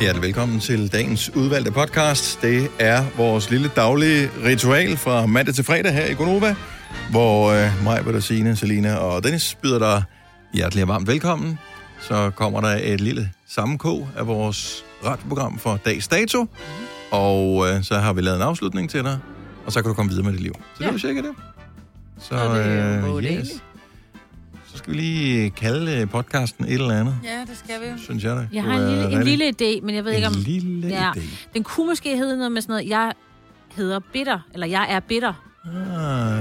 hjertelig velkommen til dagens udvalgte podcast. Det er vores lille daglige ritual fra mandag til fredag her i Gonova, hvor øh, mig, Bette, Signe, Selina og Dennis byder dig hjertelig og varmt velkommen. Så kommer der et lille sammenkog af vores radioprogram for dags dato, og øh, så har vi lavet en afslutning til dig, og så kan du komme videre med dit liv. Så ja. det er jo cirka det. Så, Og det er jo øh, både yes. dele. Så skal vi lige kalde øh, podcasten et eller andet, Ja, det skal vi jo. synes jeg da. Jeg kunne har en være lille, en rigtig- lille idé, men jeg ved ikke om... En lille Ja. idé. Den kunne måske hedde noget med sådan noget, jeg hedder bitter, eller jeg er bitter. Ah,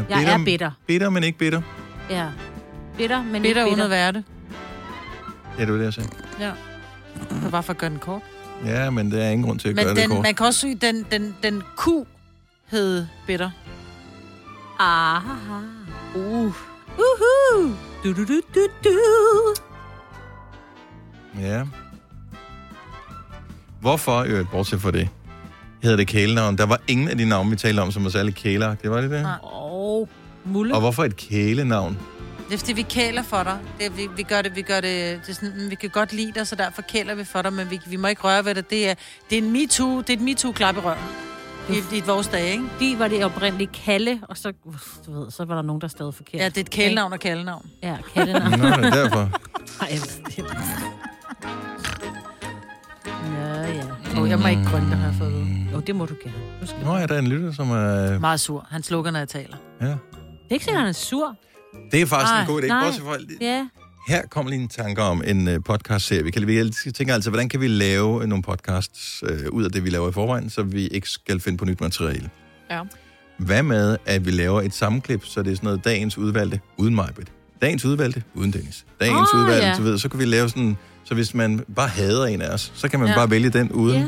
Jeg er bitter. Bitter, men ikke bitter. Ja. Bitter, men Bitter ikke uden at bitter. være det. Ja, det var det, jeg sagde. Ja. Det var bare for at gøre den kort. Ja, men der er ingen grund til at Men gøre det den, kort. man kan også syge, den, den, den ku hed bitter. Aha. Uh. Uhu. Du, du, du, du, du. Ja. Hvorfor, øh, bortset fra det, hedder det kælenavn? Der var ingen af de navne, vi talte om, som var særlig kæler. Det var det der. Nej. Åh, mulle. Og hvorfor et kælenavn? Det er fordi, vi kæler for dig. Det, er, vi, vi, gør det, vi gør det, det er sådan, mm, vi kan godt lide dig, så derfor kæler vi for dig, men vi, vi må ikke røre ved dig. Det er, det er en MeToo, det er et MeToo-klap i røven. I, I vores dage, ikke? Fordi var det oprindeligt Kalle, og så, du ved, så var der nogen, der stod forkert. Ja, det er et kælenavn og kaldenavn. Ja, Kalle. Nå, det er derfor. Nej, jeg ved det ikke. Nå, ja. Åh, oh, jeg må ikke grønne, har jeg fået at vide. Jo, det må du gerne. Nu skal Nå ja, der er en lytter, som er... Meget sur. Han slukker, når jeg taler. Ja. Det er ikke sikkert, han er sur. Det er faktisk Ej, en Ej, god idé. nej. Bortset fra, Ja. Her kommer lige en tanke om en øh, podcastserie. Vi, kan, vi altid- tænker altså, hvordan kan vi lave nogle podcasts øh, ud af det, vi laver i forvejen, så vi ikke skal finde på nyt materiale. Ja. Hvad med, at vi laver et sammenklip, så det er sådan noget dagens udvalgte uden Majbet. Dagens udvalgte uden Dennis. Dagens Åh, oh, udvalgte, ja. så, ved, så kan vi lave sådan... Så hvis man bare hader en af os, så kan man ja. Ja. bare vælge den uden. Ja.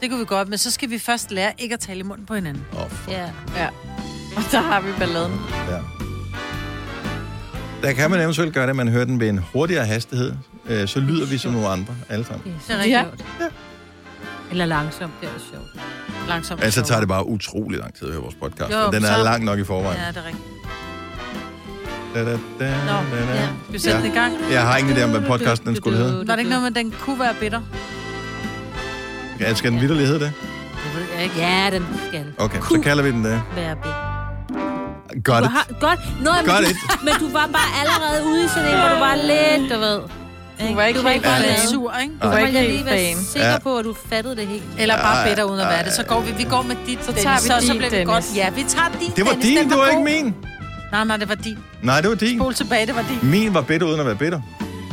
Det kunne vi godt, men så skal vi først lære ikke at tale i munden på hinanden. Oh, fuck, ja. Ja. Og så har vi balladen. ja. Der kan man eventuelt gøre det, at man hører den ved en hurtigere hastighed. Øh, så lyder vi som nogle andre, alle sammen. Det er så Det er rigtig Ja. sjovt. Eller langsomt, det er også sjovt. Langsomt. Altså tager det bare utrolig lang tid at høre vores podcast. Jo, Jo, den men er så- lang nok i forvejen. Ja, det er rigtigt. Da, da, da, Nå, da, da. ja. Skal vi sætte Ja. den i gang? Jeg har ingen idé om, hvad podcasten den skulle hedde. Var det ikke noget med, at den kunne være bitter? Ja, skal den vidderlig hedde det? Det ved jeg ikke. Ja, den skal Okay, så kalder vi den det. være bitter. Godt. Du har, godt. Nå, men, Godt du, et. men du var bare allerede ude i sådan en, hvor du var lidt, du ved. Du var ikke, Du var ikke Bare Ja. lidt sur, ikke? Du var ikke helt lige være fan. sikker Ja. på, at du fattede det helt. Eller bare Ej, bitter uden at være det. Så går vi, vi går med dit, så tager vi så, så din, bliver det Dennis. godt. Ja, vi tager din, Det var Dennis. din, Den det var ikke god. min. Nej, nej, det var din. Nej, det var din. Pol tilbage, det var din. Min var bitter uden at være bitter.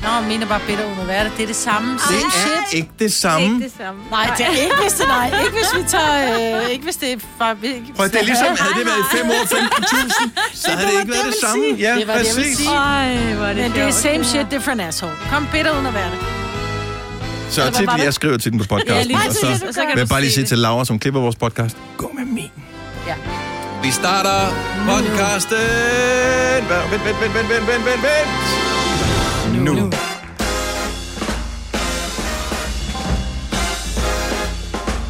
Nå, min er bare bitter uden at være det. Det er det samme. Det Same shit. er ikke det samme. samme. Nej, det er ikke, hvis det nej. Ikke hvis vi tager... Øh, ikke hvis det er bare... Ikke, Prøv, det er ligesom, havde det været 5 år, 15.000, så havde det ikke været det samme. Ja, Det var det, jeg ville præcis. sige. Ej, hvor er det Men det er sjovt. same shit, different asshole. Kom bitter uden at være det. Så titlen, jeg skriver titlen på podcasten, og så præcis, og så kan vil jeg du bare lige se sige det. til Laura, som klipper vores podcast, gå med min. Ja. Vi starter podcasten. Hvad- Vent, vent, vent, vent, vent, vent, vent, vent. Nu. nu.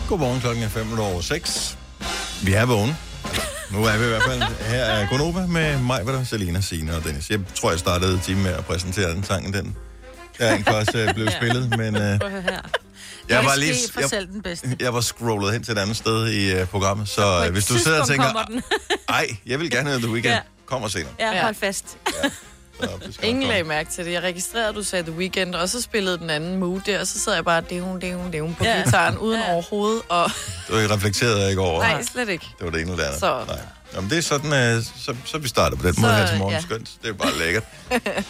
Godmorgen, klokken er 5 over 6. Vi er vågne. Nu er vi i hvert fald her er Gonova med mig, hvad der Selina, Sina og Dennis. Jeg tror, jeg startede timen med at præsentere den sang, den der egentlig også øh, blev spillet, men øh, Prøv at høre her. jeg var Ikke lige... ske for Jeg, selv den bedste. jeg var scrollet hen til et andet sted i uh, programmet, så uh, hvis du sidder og tænker, nej, jeg vil gerne have The Weekend, ja. Ja. kommer senere. Ja, hold hold fast. Så, det skal Ingen nok lagde mærke til det. Jeg registrerede, at du sagde The Weeknd, og så spillede den anden mood der, og så sad jeg bare, det er hun, det er hun, det er hun på Ja. gitaren, uden overhovedet, og komme. Du reflekterede ikke over, nej, slet ikke. det var det ene eller det andet. Så- Nej. Jamen, det er sådan, uh, så, så vi starter på den Så, måde her til morgen. ja. Skønt, det er bare lækkert.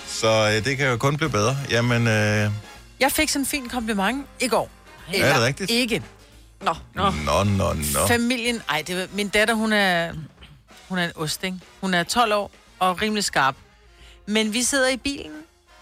så uh, det kan jo kun blive bedre. Jamen, uh, er Jeg fik sådan en fin kompliment i går. Eller det rigtigt? Ikke. Nå, Nå. Nå, nå, nå. Familien, ej, det var, min datter, hun er, hun er en ost, ikke? Hun er 12 år og rimelig skarp. Men vi sidder i bilen,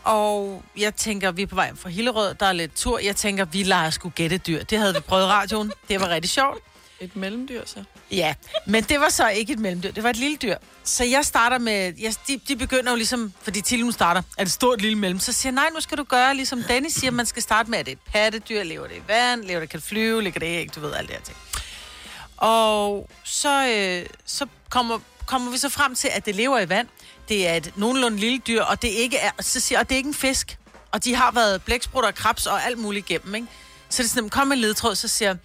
og jeg tænker, vi er på vej fra Hillerød, der er lidt tur. Jeg tænker, vi leger sgu gættedyr. Det havde vi prøvet i radioen. Det var rigtig sjovt. et mellemdyr så. Ja, men det var så ikke et mellemdyr, det var et lille dyr. Så jeg starter med, jeg, de, de begynder jo ligesom, fordi Tilly hun starter, er det stort lille mellem, så siger jeg, nej, nu skal du gøre, ligesom Dennis siger, man skal starte med, at det er et pattedyr, lever det i vand, lever det kan flyve, ligger det ikke, du ved, alt det her ting. Og så, øh, så kommer, kommer vi så frem til, at det lever i vand, det er et nogenlunde lille dyr, og det ikke er, så siger, og det er ikke en fisk, og de har været blæksprutter og krebs og alt muligt igennem, ikke? Så er det sådan, kom med en ledtråd, så siger jeg,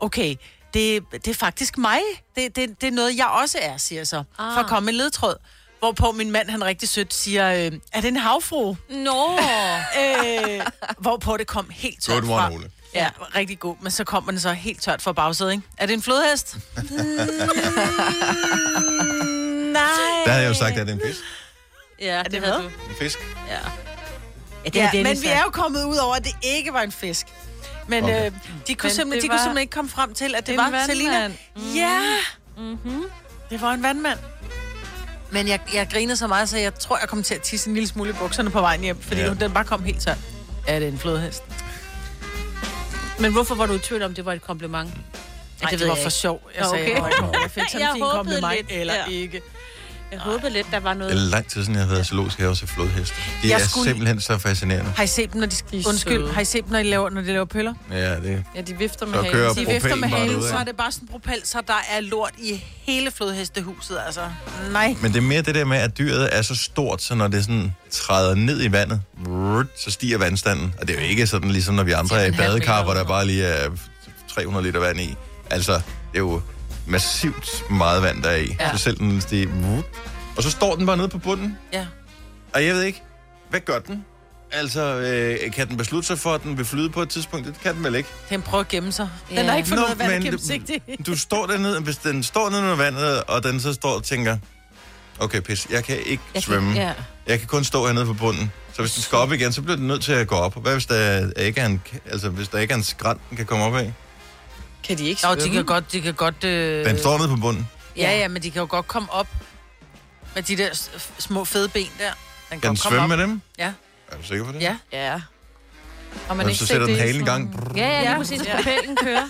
okay, det, det er faktisk mig. Det, det, det er noget, jeg også er, siger jeg så. Ah. For at komme med en ledtråd. Hvorpå min mand, han rigtig sødt, siger, øh, er det en havfru? Nå. Øh, hvorpå det kom helt tørt Good one, fra. Ole. Ja, rigtig god. Men så kom den så helt tørt fra bagsædet, ikke? Er det en flodhest? Nej. Der havde jeg jo sagt, at det er en fisk. Ja, det, det det havde havde du. En fisk. Ja. Ja, det Ja, har men Dennis vi er jo kommet ud over, at det ikke var en fisk. Men Okay. okay. øh, de, kunne Men simpelthen, det de kunne var simpelthen ikke komme frem til, at det en var vandmand. Selina. Mm-hmm. Ja! Mm-hmm. Det var en vandmand. Men jeg, jeg griner så meget, så jeg tror, jeg kom til at tisse en lille smule i bukserne på vejen hjem, fordi Ja. ja. den bare kom helt tør. Er det en flodhest? Nej, Men hvorfor var du i tvivl om, det var et kompliment? Ja, det, det ved var jeg for ikke. sjov. Jeg, Nå, sagde, okay. okay. jeg fik sådan Jeg en fin kom håbede med mig, lidt, eller ja. ja. ikke. Jeg håbede lidt, der var noget. Det er lang tid siden, jeg har været i zoologisk have og set flodheste. De Jeg er skulle- simpelthen så fascinerende. Har I set dem, når de, er de undskyld, søde. har I set dem, når de laver, når de laver pøller? Ja, det Ja, de vifter med Så kører De Propellen vifter med bare halen, derudad. så er det bare sådan en propel, så der er lort i hele flodhestehuset, altså. Nej. Men det er mere det der med, at dyret er så stort, så når det sådan træder ned i vandet, vrrt, så stiger vandstanden. Og det er jo ikke sådan, ligesom når vi andre er i en halv badekar, meter hvor der eller bare lige er 300 liter vand i. Altså, det er jo massivt meget vand, der er i. Ja. Ja. Så selv den stiger, vrrt. Og så står den bare nede på bunden, Ja. og jeg ved ikke, hvad gør den? Altså, øh, kan den beslutte sig for, at den vil flyde på et tidspunkt? Det kan den vel ikke. Den prøver at gemme sig. Den Ja. har ikke fundet ud af, hvad men den gennemsigtig. Du står dernede, og hvis den står nede under vandet, og den så står og tænker, okay, pis, jeg kan ikke jeg svømme. Kan, Ja. Jeg kan kun stå hernede på bunden. Så hvis den skal op igen, så bliver den nødt til at gå op. Hvad hvis der ikke er en, altså, hvis der ikke er en skrænt, den kan komme op Øh, af? Kan de ikke Nå, svømme? de kan godt, de kan godt... Øh... Den står nede på bunden. Ja, ja, men de kan jo godt komme op med de der s- f- små fede ben der. Kan den godt komme svømme op. med dem? Ja. Er du sikker på det? Ja. Ja. Og man Men så sætter den halen i gang. Ja, ja, lige Ja. præcis. Propellen kører.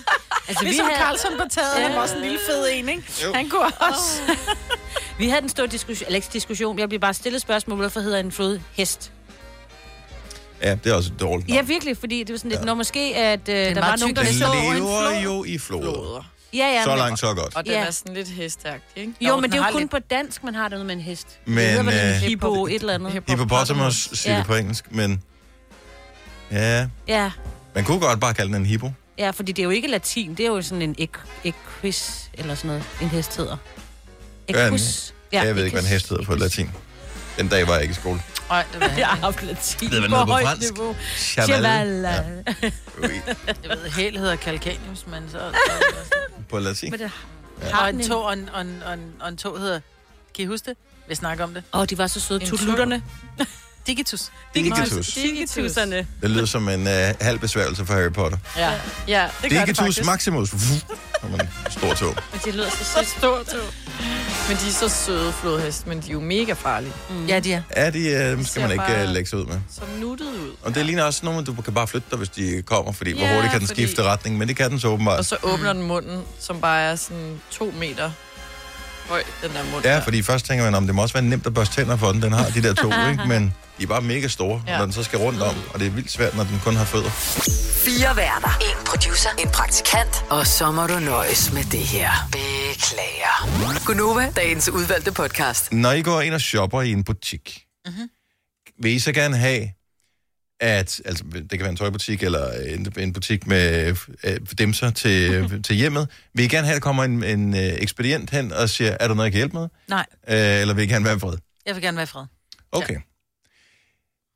Altså, vi, Ligesom havde, Carlson på taget, ja. han var også en lille fed en, ikke? Jo. Han kunne også. Oh. vi havde den store diskussion, eller ikke diskussion, jeg blev bare stillet spørgsmål, hvorfor hedder en flodhest? Ja, det er også et dårligt. Ja, navn. virkelig, fordi det var sådan lidt, når måske, at øh, der var meget nogen, tykt, der den Den så... står over en lever flod. jo i floder. Bloder. Ja, ja, Så men- langt, så godt. Og den Ja. er sådan lidt hestagtig, ikke? Jo, Jo, men den det er har jo kun lidt- på dansk, man har det noget med en hest. Det Men, hedder vel en øh, hippo, et eller andet. Hippopotamus siger Ja. det på engelsk, men... Ja, Ja, man kunne godt bare kalde den en hippo. ja, fordi det er jo ikke latin, det er jo sådan en equ- equis, eller sådan noget, en hest hedder. Hvad er den? Equus. Ja, jeg ved ikke, hvad en hest hedder på latin. Den dag var jeg ikke i skole. Nej, det var Jeg har haft latin Det er vel på noget på højt fransk. niveau. Chaval. Chevala. Ja. Ui, Jeg ved, hæl hedder kalkanius, men så... På latin. Men det og en tog, og en, og, en, og, en, og en tog hedder... Kan I huske det? Vi snakker om det. Åh, oh, de var så søde. En Tutlutterne. Digitus. Digitus. Digitusserne. Det lyder som en uh, halv besværgelse for Harry Potter. Ja. Ja, det gør det Digitus faktisk. maximus. Vuh, Kommer en stor tog. Men det lyder så sødt. Stor tog. Men de er så søde flodheste, men de er jo mega farlige. Ja, de er. Ja, de uh, skal man ikke uh, lægge sig ud med. Så nuttet ud. Og det ligner også nogle, du kan bare flytte dig, hvis de kommer, fordi hvor Ja, hurtigt kan den fordi- skifte retning, men det kan den så Og åbenbart. så åbner den munden, som bare er sådan to meter høj, den der mund. Ja, der. fordi først tænker man, om det må også være nemt at børste tænder for den. Den har de der to, ikke? men de er bare mega store, Ja. når den så skal rundt om, og det er vildt svært, når den kun har fødder. Fire værter. En producer. En praktikant. Og så må du nøjes med det her. Beklager. Gunova, dagens udvalgte podcast. når I går ind og shopper i en butik, Mhm. mm-hmm. vil I så gerne have, at, altså det kan være en tøjbutik eller en, en butik med øh, dimser til, Mhm. til hjemmet, vil I gerne have, at der kommer en, en øh, ekspedient hen og siger, er der noget, jeg kan hjælpe med? Nej, Øh, eller vil I gerne være i fred? jeg vil gerne være i fred. Okay. Jeg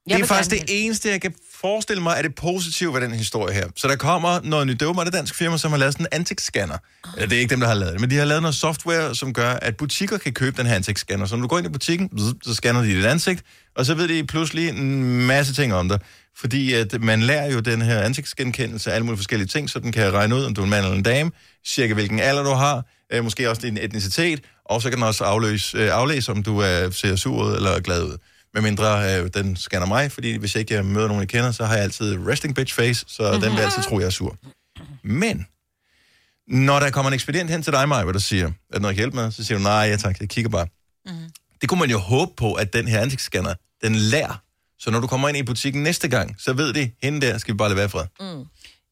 Det er vil faktisk gerne det eneste, jeg kan forestille mig, er det positive ved den historie her. Så der kommer noget nyt. Det er åbenbart et dansk firma, som har lavet sådan en ansigtsscanner. Eller det er ikke dem, der har lavet det, men de har lavet noget software, som gør, at butikker kan købe den her ansigtsscanner. Så når du går ind i butikken, bzz, så scanner de dit ansigt, og så ved de pludselig en masse ting om dig. Fordi at man lærer jo den her ansigtsgenkendelse af alle mulige forskellige ting, så den kan regne ud, om du er en mand eller en dame, cirka hvilken alder du har, øh, måske også din etnicitet, og så kan den også afløse, øh, aflæse, om du er, ser sur ud eller glad ud. Med mindre øh, den scanner mig, fordi hvis ikke jeg møder nogen, jeg kender, så har jeg altid resting bitch face, så den vil altid tro, jeg er sur. Men, når der kommer en ekspedient hen til dig, Maja, der siger, er der noget at hjælpe med? Så siger du, nej, ja tak, jeg kigger bare. Mm. Det kunne man jo håbe på, at den her ansigtsscanner, den lærer. Så når du kommer ind i butikken næste gang, så ved de, hende der skal vi bare lade være fra.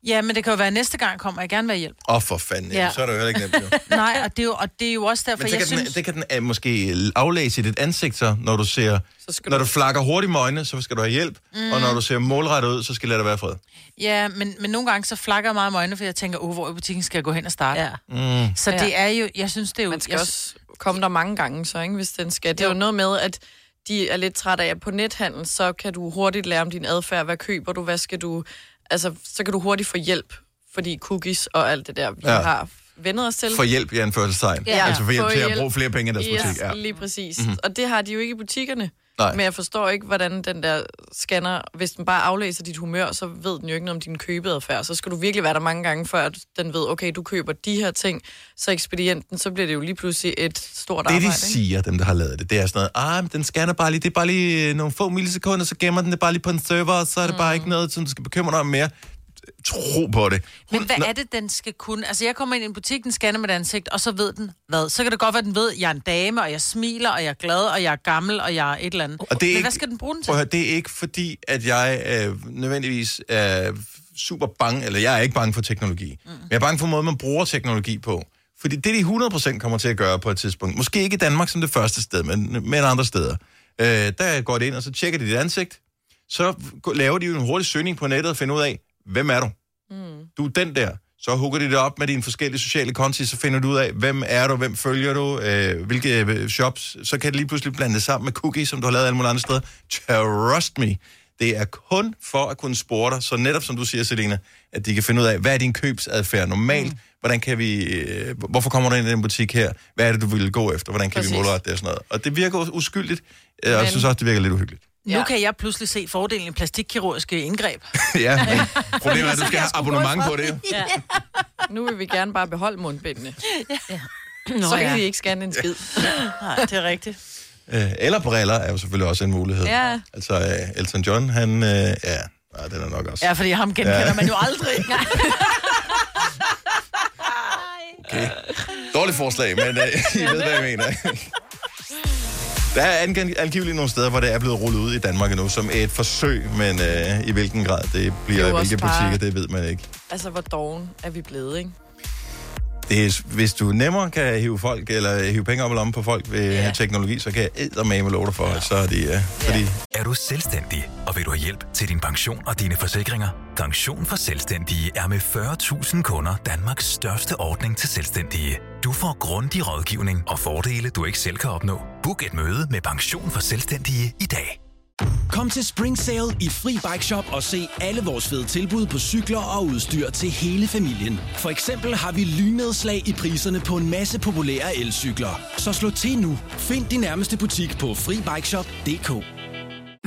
Ja, men det kan jo være, at næste gang kommer jeg gerne med hjælp. Åh, oh, for fanden, ja. Ja. så er det jo heller ikke nemt. Jo. Nej, og det er jo, og det er jo også derfor, Men så jeg kan synes... den, det kan den uh, måske aflæse i dit ansigt, så, når du ser... Så skal Når du- du flakker hurtigt med øjnene, så skal du have hjælp. Mm. Og når du ser målrettet ud, så skal lade det være fred. Mm. Ja, men, men nogle gange så flakker jeg meget om øjnene, for jeg tænker, oh, hvor i butikken skal jeg gå hen og starte? Ja. Mm. Så Ja. det er jo... Jeg synes, det er jo... Man skal jeg, også komme der mange gange, så, ikke, hvis den skal. Det er jo noget med, at de er lidt trætte af, at på nethandel, så kan du hurtigt lære om din adfærd. Hvad køber du? Hvad skal du... Altså, så kan du hurtigt få hjælp, fordi cookies og alt det der, vi Ja. ja. har vendet os til. For hjælp i anførselstegn. Ja. Ja. Altså for hjælp Få til at hjælp. bruge flere penge i deres yes, butik. Ja. Mhm. lige præcis. Mm-hmm. Og det har de jo ikke i butikkerne. Nej. Men jeg forstår ikke, hvordan den der scanner, hvis den bare aflæser dit humør, så ved den jo ikke noget om din købeadfærd. Så skal du virkelig være der mange gange, før at den ved, okay, du køber de her ting, så ekspedienten, så bliver det jo lige pludselig et stort Det, arbejde. de ikke? siger, dem der har lavet det, det er sådan noget, ah, men den scanner bare lige, det er bare lige øh, nogle få millisekunder, så gemmer den det bare lige på en server, og så er det mm. bare ikke noget, som du skal bekymre dig om mere. Tro på det. Hun, Men hvad er det, den skal kunne? Altså, jeg kommer ind i en butik, den scanner mit ansigt, og så ved den hvad. Så kan det godt være, den ved, at jeg er en dame, og jeg smiler, og jeg er glad, og jeg er gammel, og jeg er et eller andet. Og det er men ikke- hvad skal den bruge den til? Prøv at høre, det er ikke fordi, at jeg øh, nødvendigvis er super bange, eller jeg er ikke bange for teknologi. Mm. Jeg er bange for måden, man bruger teknologi på. Fordi det, de 100% kommer til at gøre på et tidspunkt, måske ikke i Danmark som det første sted, men, men andre steder, øh, der går det ind, og så tjekker de dit ansigt, så g- laver de jo en hurtig søgning på nettet og finder ud af, hvem er du? Mm. Du er den der. Så hugger de det op med dine forskellige sociale konti, så finder du ud af, hvem er du, hvem følger du, øh, hvilke øh, shops. Så kan det lige pludselig blande det sammen med cookies, som du har lavet alle mulige andre steder. Trust me. Det er kun for at kunne spore dig, så netop som du siger, Selina, at de kan finde ud af, hvad er din købsadfærd normalt? Mm. Hvordan kan vi, øh, hvorfor kommer du ind i den butik her? Hvad er det, du vil gå efter? Hvordan kan Præcis. vi Præcis. målrette det og sådan noget? Og det virker uskyldigt, øh, og jeg Men- synes også, det virker lidt uhyggeligt. Nu Ja. kan jeg pludselig se fordelen i plastikkirurgiske indgreb. Ja, men problemet er, at du skal have abonnement på det. jo. Ja. Nu vil vi gerne bare beholde mundbindene. Nå, så kan ja. de ikke scanne en skid. Nej, det er rigtigt. Øh, Eller briller er jo selvfølgelig også en mulighed. Ja. Altså øh, Elton John, han... Øh, ja, nej, den er nok også. Ja, fordi ham genkender Ja. ja. man jo aldrig. Okay. Dårligt forslag, men øh, I ved, hvad jeg mener. Der er ange- angiveligt nogle steder, hvor det er blevet rullet ud i Danmark endnu, som et forsøg, men øh, i hvilken grad det bliver, Det er i jo hvilke også bare- butikker, det ved man ikke. Altså, hvor doven er vi blevet, ikke? Det er, hvis du nemmere kan hive folk, eller hive penge op i lommen på folk ved ja. teknologi, så kan jeg eddermame love dig for, at så er de... Øh, fordi Er du selvstændig, og vil du have hjælp til din pension og dine forsikringer? Pension for Selvstændige er med 40.000 kunder Danmarks største ordning til selvstændige. Du får grundig rådgivning og fordele, du ikke selv kan opnå. Book et møde med Pension for Selvstændige i dag. Kom til Spring Sale i Fri Bike Shop og se alle vores fede tilbud på cykler og udstyr til hele familien. For eksempel har vi lynedslag i priserne på en masse populære elcykler. Så slå til nu. Find din nærmeste butik på FriBikeShop.dk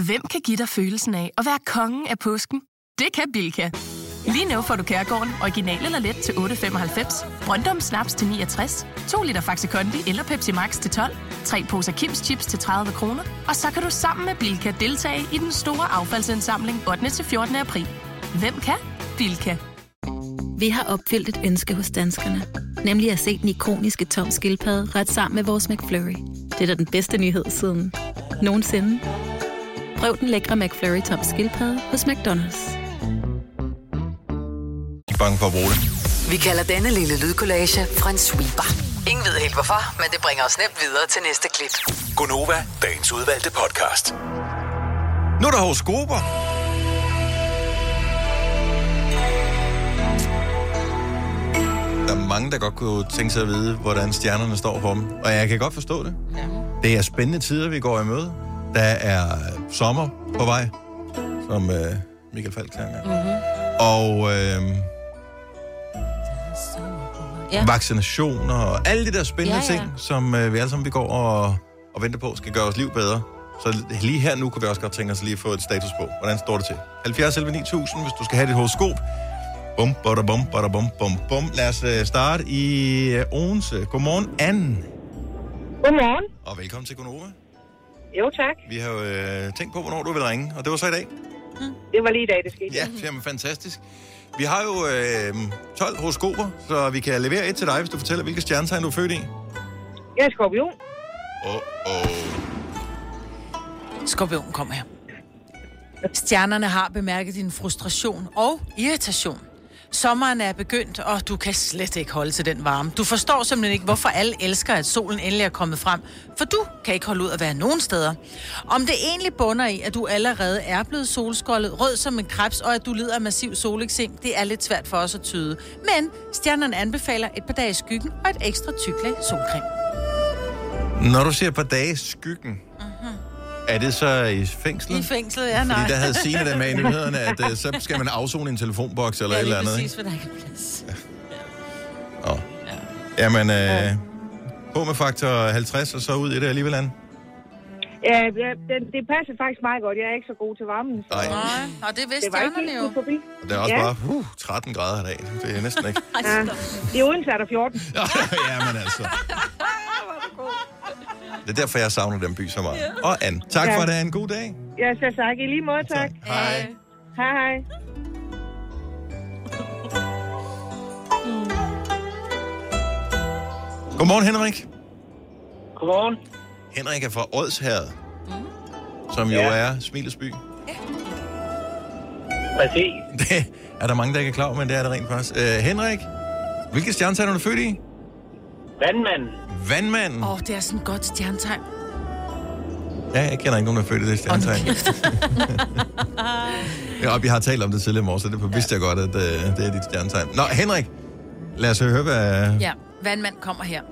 Hvem kan give dig følelsen af at være kongen af påsken? Det kan Bilka! Lige nu får du Kærgården original eller let til 8.95, Brøndum Snaps til 69, 2 liter Faxi Kondi eller Pepsi Max til 12, 3 poser Kims Chips til 30 kroner, og så kan du sammen med Bilka deltage i den store affaldsindsamling 8. til 14. april. Hvem kan? Bilka. Vi har opfyldt et ønske hos danskerne. Nemlig at se den ikoniske tom skildpadde ret sammen med vores McFlurry. Det er da den bedste nyhed siden nogensinde. Prøv den lækre McFlurry tom skildpadde hos McDonald's. de er bange for at bruge det. Vi kalder denne lille lydkollage en sweeper. Ingen ved helt hvorfor, men det bringer os nemt videre til næste klip. Gonova, dagens udvalgte podcast. Nu er der horoskoper. Der er mange, der godt kunne tænke sig at vide, hvordan stjernerne står for dem. Og jeg kan godt forstå det. Ja. Det er spændende tider, vi går i møde. Der er sommer på vej, som øh, Michael Falk sang mm-hmm. Og øh, ja. Ja. vaccinationer og alle de der spændende ja, Ja, ja. ja. ting, som øh, vi alle sammen vi går og, og venter på, skal gøre vores liv bedre. Så lige her nu kunne vi også godt tænke os lige at få et status på. Hvordan står det til? 70 11 9000, hvis du skal have dit horoskop. Bum, bada, bum, bada, bum, bum, bum. Lad os øh, starte i øh, Odense. Godmorgen, Anne. Godmorgen. Og velkommen til Gunova. Jo, tak. Vi har jo øh, tænkt på, hvornår du vil ringe, og det var så i dag. Hm. Det var lige i dag, det skete. Ja, jamen, fantastisk. Vi har jo øh, 12 horoskoper, så vi kan levere et til dig, hvis du fortæller, hvilke stjernetegn du er født i. Jeg er skorpion. Oh, oh. Skorpionen kom her. Stjernerne har bemærket din frustration og irritation. Sommeren er begyndt, og du kan slet ikke holde til den varme. Du forstår simpelthen ikke, hvorfor alle elsker, at solen endelig er kommet frem, for du kan ikke holde ud at være nogen steder. Om det egentlig bunder i, at du allerede er blevet solskoldet, rød som en krebs, og at du lider af massiv soleksem, det er lidt svært for os at tyde. Men stjernerne anbefaler et par dage i skyggen og et ekstra tyk lag solcreme. Når du ser på dage i skyggen, er det så i fængslet? Mhm. I fængslet, ja, nej. Fordi der havde Signe det med i nyhederne, at uh, så skal man afzone i en telefonboks eller Ja, et lige eller andet. præcis, for Ikke? der ikke er plads. Jamen, øh, på med faktor 50 og så ud i det alligevel andet. Ja, ja den, det passer faktisk meget godt. Jeg er ikke så god til varmen. Så... Nej. og det vidste det var ikke stjernerne helt jo. ude forbi. Og der er også Ja. bare uh, 13 grader i dag. Det er næsten ikke. Ja. I Odense er der 14. ja, men altså. Det er derfor, jeg savner den by så meget. Og Anne, tak Ja. for det. Ha' En god dag. Ja, så tak. I lige måde, tak. Hej. Hej, hej. Godmorgen, Henrik. Godmorgen. Mhm. Henrik er fra Odsherred, som jo Ja. er Smilets by. Præcis. Det er der mange, der ikke er klar over, men det er det rent faktisk. Øh, Henrik, hvilket stjernetegn er du født i? Vandmanden. Vandmanden? Åh, oh, det er sådan et godt stjernetegn. Ja, jeg kender ikke nogen, der er født i det stjernetegn. Ja, vi har talt om det tidligere i morges, så det vidste jeg godt, at øh, det er dit stjernetegn. Nå, Henrik, lad os høre, hvad... Ja, vandmand kommer her.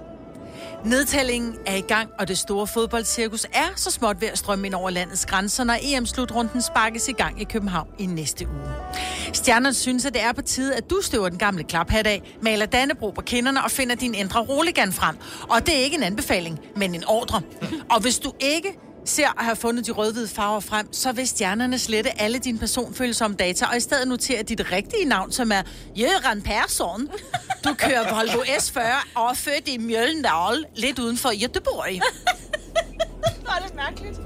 Nedtællingen er i gang, og det store fodboldcirkus er så småt ved at strømme ind over landets grænser, når EM-slutrunden sparkes i gang i København i næste uge. Stjernerne synes, at det er på tide, at du støver den gamle klaphat af, maler Dannebro på kinderne og finder din indre roligan frem. Og det er ikke en anbefaling, men en ordre. Og hvis du ikke ser og har fundet de rødhvide farver frem, så vil stjernerne slette alle dine personfølsomme data, og i stedet notere dit rigtige navn, som er Jørgen Persson. Du kører Volvo S40 og er født i Mjølndal, lidt uden for Göteborg. Var det mærkeligt?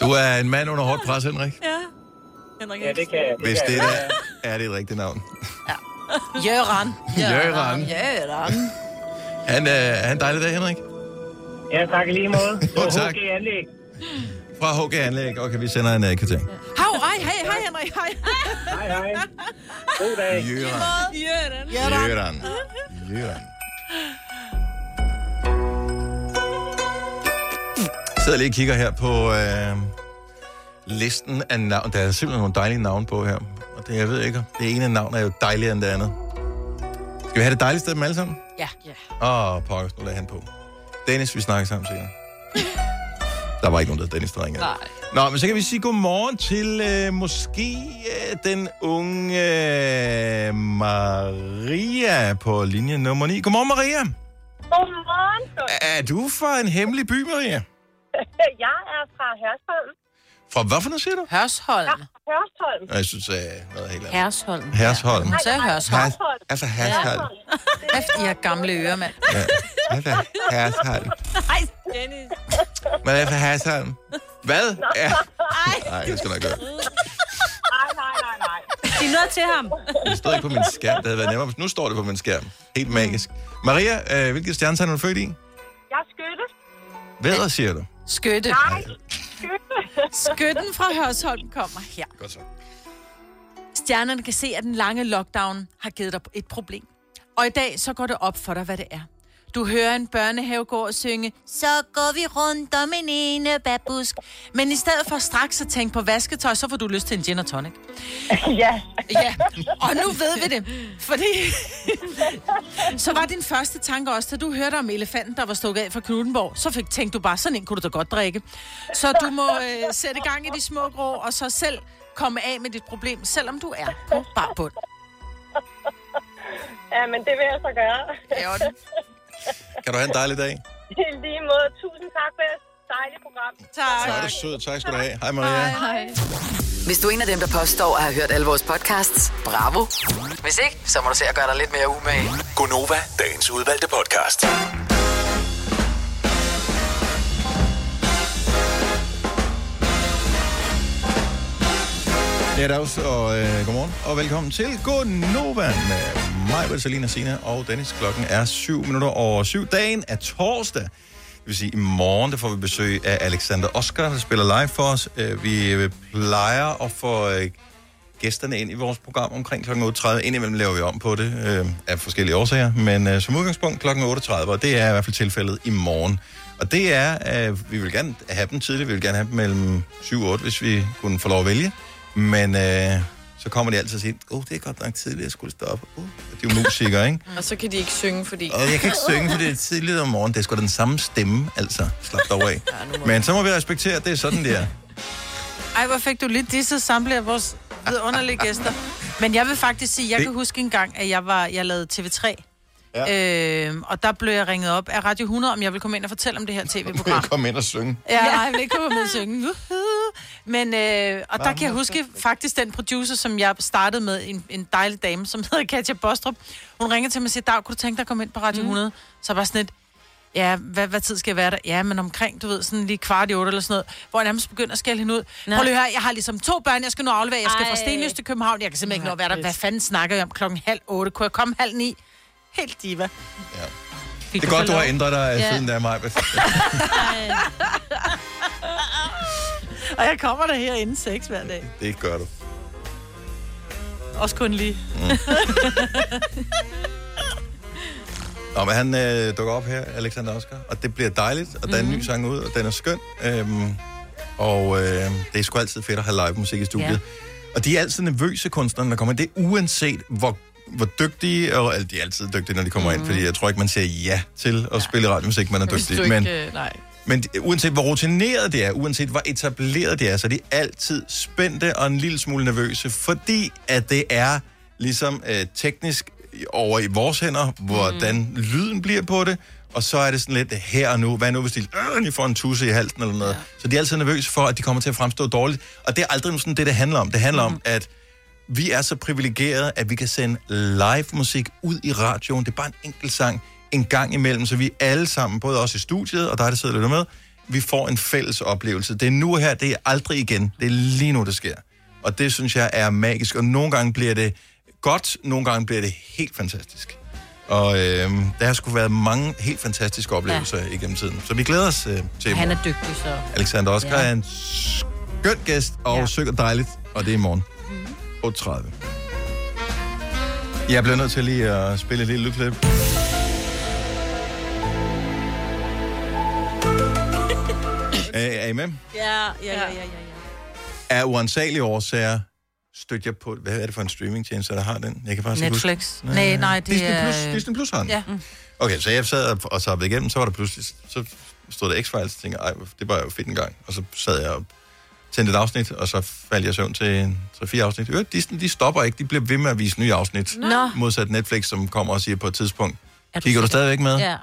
Du er en mand under hårdt pres, Henrik. ja. Ja, det kan jeg. Hvis det er, er det et rigtigt navn. Jørgen. Jørgen. Jørgen. Han, øh, han en dejlig dag, Henrik. Ja, tak i lige måde. Jo, tak. HG Anlæg. Fra HG Anlæg. Okay, vi sender en øh, kvittering. Hav, ej, hej, hej, Henrik, hej. Hej, hej. God dag. Jørgen. Jørgen. Jørgen. Jørgen. Jeg sidder lige og kigger her på øh, listen af navn. Der er simpelthen nogle dejlige navne på her. Og det, jeg ved ikke, det ene navn er jo dejligere end det andet. Skal vi have det dejligste af dem alle sammen? Ja. ja. Åh, oh, pokkers, nu lagde han på. Dennis, vi snakker sammen senere. Der var ikke nogen, der hed Dennis, der ringede. Nej. Nå, men så kan vi sige godmorgen til øh, måske øh, den unge øh, Maria på linje nummer 9. Godmorgen, Maria. Godmorgen. Er du fra en hemmelig by, Maria? Jeg er fra Hørsholm. Fra hvad for noget siger du? Hørsholm. Ja, Hørsholm. Jeg synes, det er noget helt andet. Hersholm. Hersholm. Hun sagde Hørsholm. Her- altså Hersholm. Hæft, I har gamle ører, mand. Ja. Altså Hersholm. Ej, Dennis. Man er fra Hersholm. Hvad? Ja. Ej. Nej, det skal du ikke gøre. Nej, nej, nej, nej. Sig noget til ham. Det stod ikke på min skærm. Det havde været nemmere. hvis- Nu står det på min skærm. Helt magisk. Maria, øh, hvilket stjernetegn er du født i? Jeg er skytte. Vædder, siger du. Skytte. Nej, skytte. Skytten fra Hørsholm kommer her. Godt så. Stjernerne kan se, at den lange lockdown har givet dig et problem. Og i dag så går det op for dig, hvad det er. Du hører en børnehave gå og synge, så går vi rundt om en ene babusk. Men i stedet for straks at tænke på vasketøj, så får du lyst til en gin og tonic. Ja. Ja, og nu ved vi det, fordi... så var din første tanke også, da du hørte om elefanten, der var stukket af fra Knuttenborg, så fik, tænkte du bare, sådan en kunne du da godt drikke. Så du må øh, sætte gang i de små grå, og så selv komme af med dit problem, selvom du er på barbund. ja, men det vil jeg så gøre. Ja, det. Kan du have en dejlig dag? I lige måde. Tusind tak for et dejligt program. Tak. Så er du sød. Tak skal du have. Hej, Maria. Hej. Hvis du er en af dem, der påstår at have hørt alle vores podcasts, bravo. Hvis ikke, så må du se at gøre dig lidt mere umage. Gonova, dagens udvalgte podcast. Ja, dags, og øh, godmorgen, og velkommen til Godnova med mig, Britt, Selina, Sina og Dennis. Klokken er 7 minutter over syv. Dagen er torsdag. Det vil sige, i morgen der får vi besøg af Alexander Oskar, der spiller live for os. Øh, Vi øh, plejer at få øh, gæsterne ind i vores program omkring kl. 8.30. Indimellem laver vi om på det øh, af forskellige årsager, men øh, som udgangspunkt kl. 8.30, og det er i hvert fald tilfældet i morgen. Og det er, øh, vi vil gerne have dem tidligt, vi vil gerne have dem mellem 7 og 8, hvis vi kunne få lov at vælge. Men øh, så kommer de altid og siger, åh, oh, det er godt nok tidligt, jeg skulle stå op. Uh, de er jo musikere, ikke? Og så kan de ikke synge, fordi... Og jeg kan ikke synge, for det er tidligt om morgenen. Det er sgu da den samme stemme, altså. Slap dig af. Men så må vi respektere, at det er sådan, det er. Ej, hvor fik du lidt disse samtlige af vores vidunderlige gæster. Men jeg vil faktisk sige, jeg Det- kan huske en gang, at jeg, var, jeg lavede TV3. Ja. Øhm, og der blev jeg ringet op af Radio 100, om jeg ville komme ind og fortælle om det her Vil tv-program. jeg komme ind og synge? Ja, nej, jeg vil ikke komme ud og synge. Uhuh. Men, øh, og der kan jeg huske faktisk den producer, som jeg startede med, en, en dejlig dame, som hedder Katja Bostrup. Hun ringer til mig og siger, Dag, kunne du tænke dig at komme ind på Radio 100? Så jeg bare sådan lidt, ja, hvad, hvad tid skal jeg være der? Ja, men omkring, du ved, sådan lige kvart i otte eller sådan noget, hvor jeg nærmest begynder at skælde hende ud. Nej. Prøv lige at høre, jeg har ligesom to børn, jeg skal nu aflevere, jeg skal fra Ej. Stenløs til København, jeg kan simpelthen ikke nå at være der. Hvad fanden snakker jeg om klokken halv otte? Kunne jeg komme halv ni? Helt diva. Det er godt, du har ændret dig Ja. ja. siden der, Maja. Og jeg kommer der her inden seks hver dag. Det gør du. Også kun lige. Nå, men han øh, dukker op her, Alexander Oscar, og det bliver dejligt, og der er Mhm. en ny sang ud, og den er skøn. Øhm, og øh, det er sgu altid fedt at have live musik i studiet. Ja. Og de er altid nervøse kunstnerne, der kommer. Det er uanset, hvor, hvor dygtige, og altså, de er altid dygtige, når de kommer mm. ind, fordi jeg tror ikke, man siger ja til at ja. spille radio, hvis ikke man er Mhm. Hvis du dygtig. ikke... Men, øh, Nej. men de- uanset hvor rutineret det er, uanset hvor etableret det er, så er de altid spændte og en lille smule nervøse, fordi at det er ligesom øh, teknisk over i vores hænder, hvordan mm. lyden bliver på det, og så er det sådan lidt her og nu, hvad nu hvis de øh, lige får en tusse i halsen eller noget. Ja. Så de er altid nervøse for, at de kommer til at fremstå dårligt, og det er aldrig sådan det, det handler om. Det handler mm. om, at vi er så privilegerede, at vi kan sende live musik ud i radioen. Det er bare en enkelt sang en gang imellem, så vi alle sammen, både os i studiet og dig, der sidder og lytter med, vi får en fælles oplevelse. Det er nu her, det er aldrig igen. Det er lige nu, det sker. Og det synes jeg er magisk, og nogle gange bliver det godt, nogle gange bliver det helt fantastisk. Og øh, der har sgu været mange helt fantastiske oplevelser ja. igennem tiden. Så vi glæder os øh, til i Han morgen. er dygtig, så... Alexander Oskar Ja. ja. er en skøn gæst og ja. synger dejligt, og det er i morgen. 8.30. Jeg bliver nødt til lige at spille et lille lydklip. Øh, Er I med? Ja, ja, ja, ja, ja. Af uansagelige årsager støtter jeg på... Hvad er det for en streamingtjeneste, der har den? Jeg kan faktisk ikke huske- Netflix. Nej, nej, det Disney er... Plus, Disney Plus har den. Ja. Mm. Okay, så jeg sad og- og sappede igennem, så var der pludselig, så stod der X-Files, og tænkte, ej, det var jo fedt en gang. Og så sad jeg og tændte et afsnit, og så faldt jeg i søvn til en 3-4 afsnit. Øh, Disney, de stopper ikke, de bliver ved med at vise nye afsnit. Nå. Modsat Netflix, som kommer og siger på et tidspunkt, du kigger du stadigvæk med? Ja.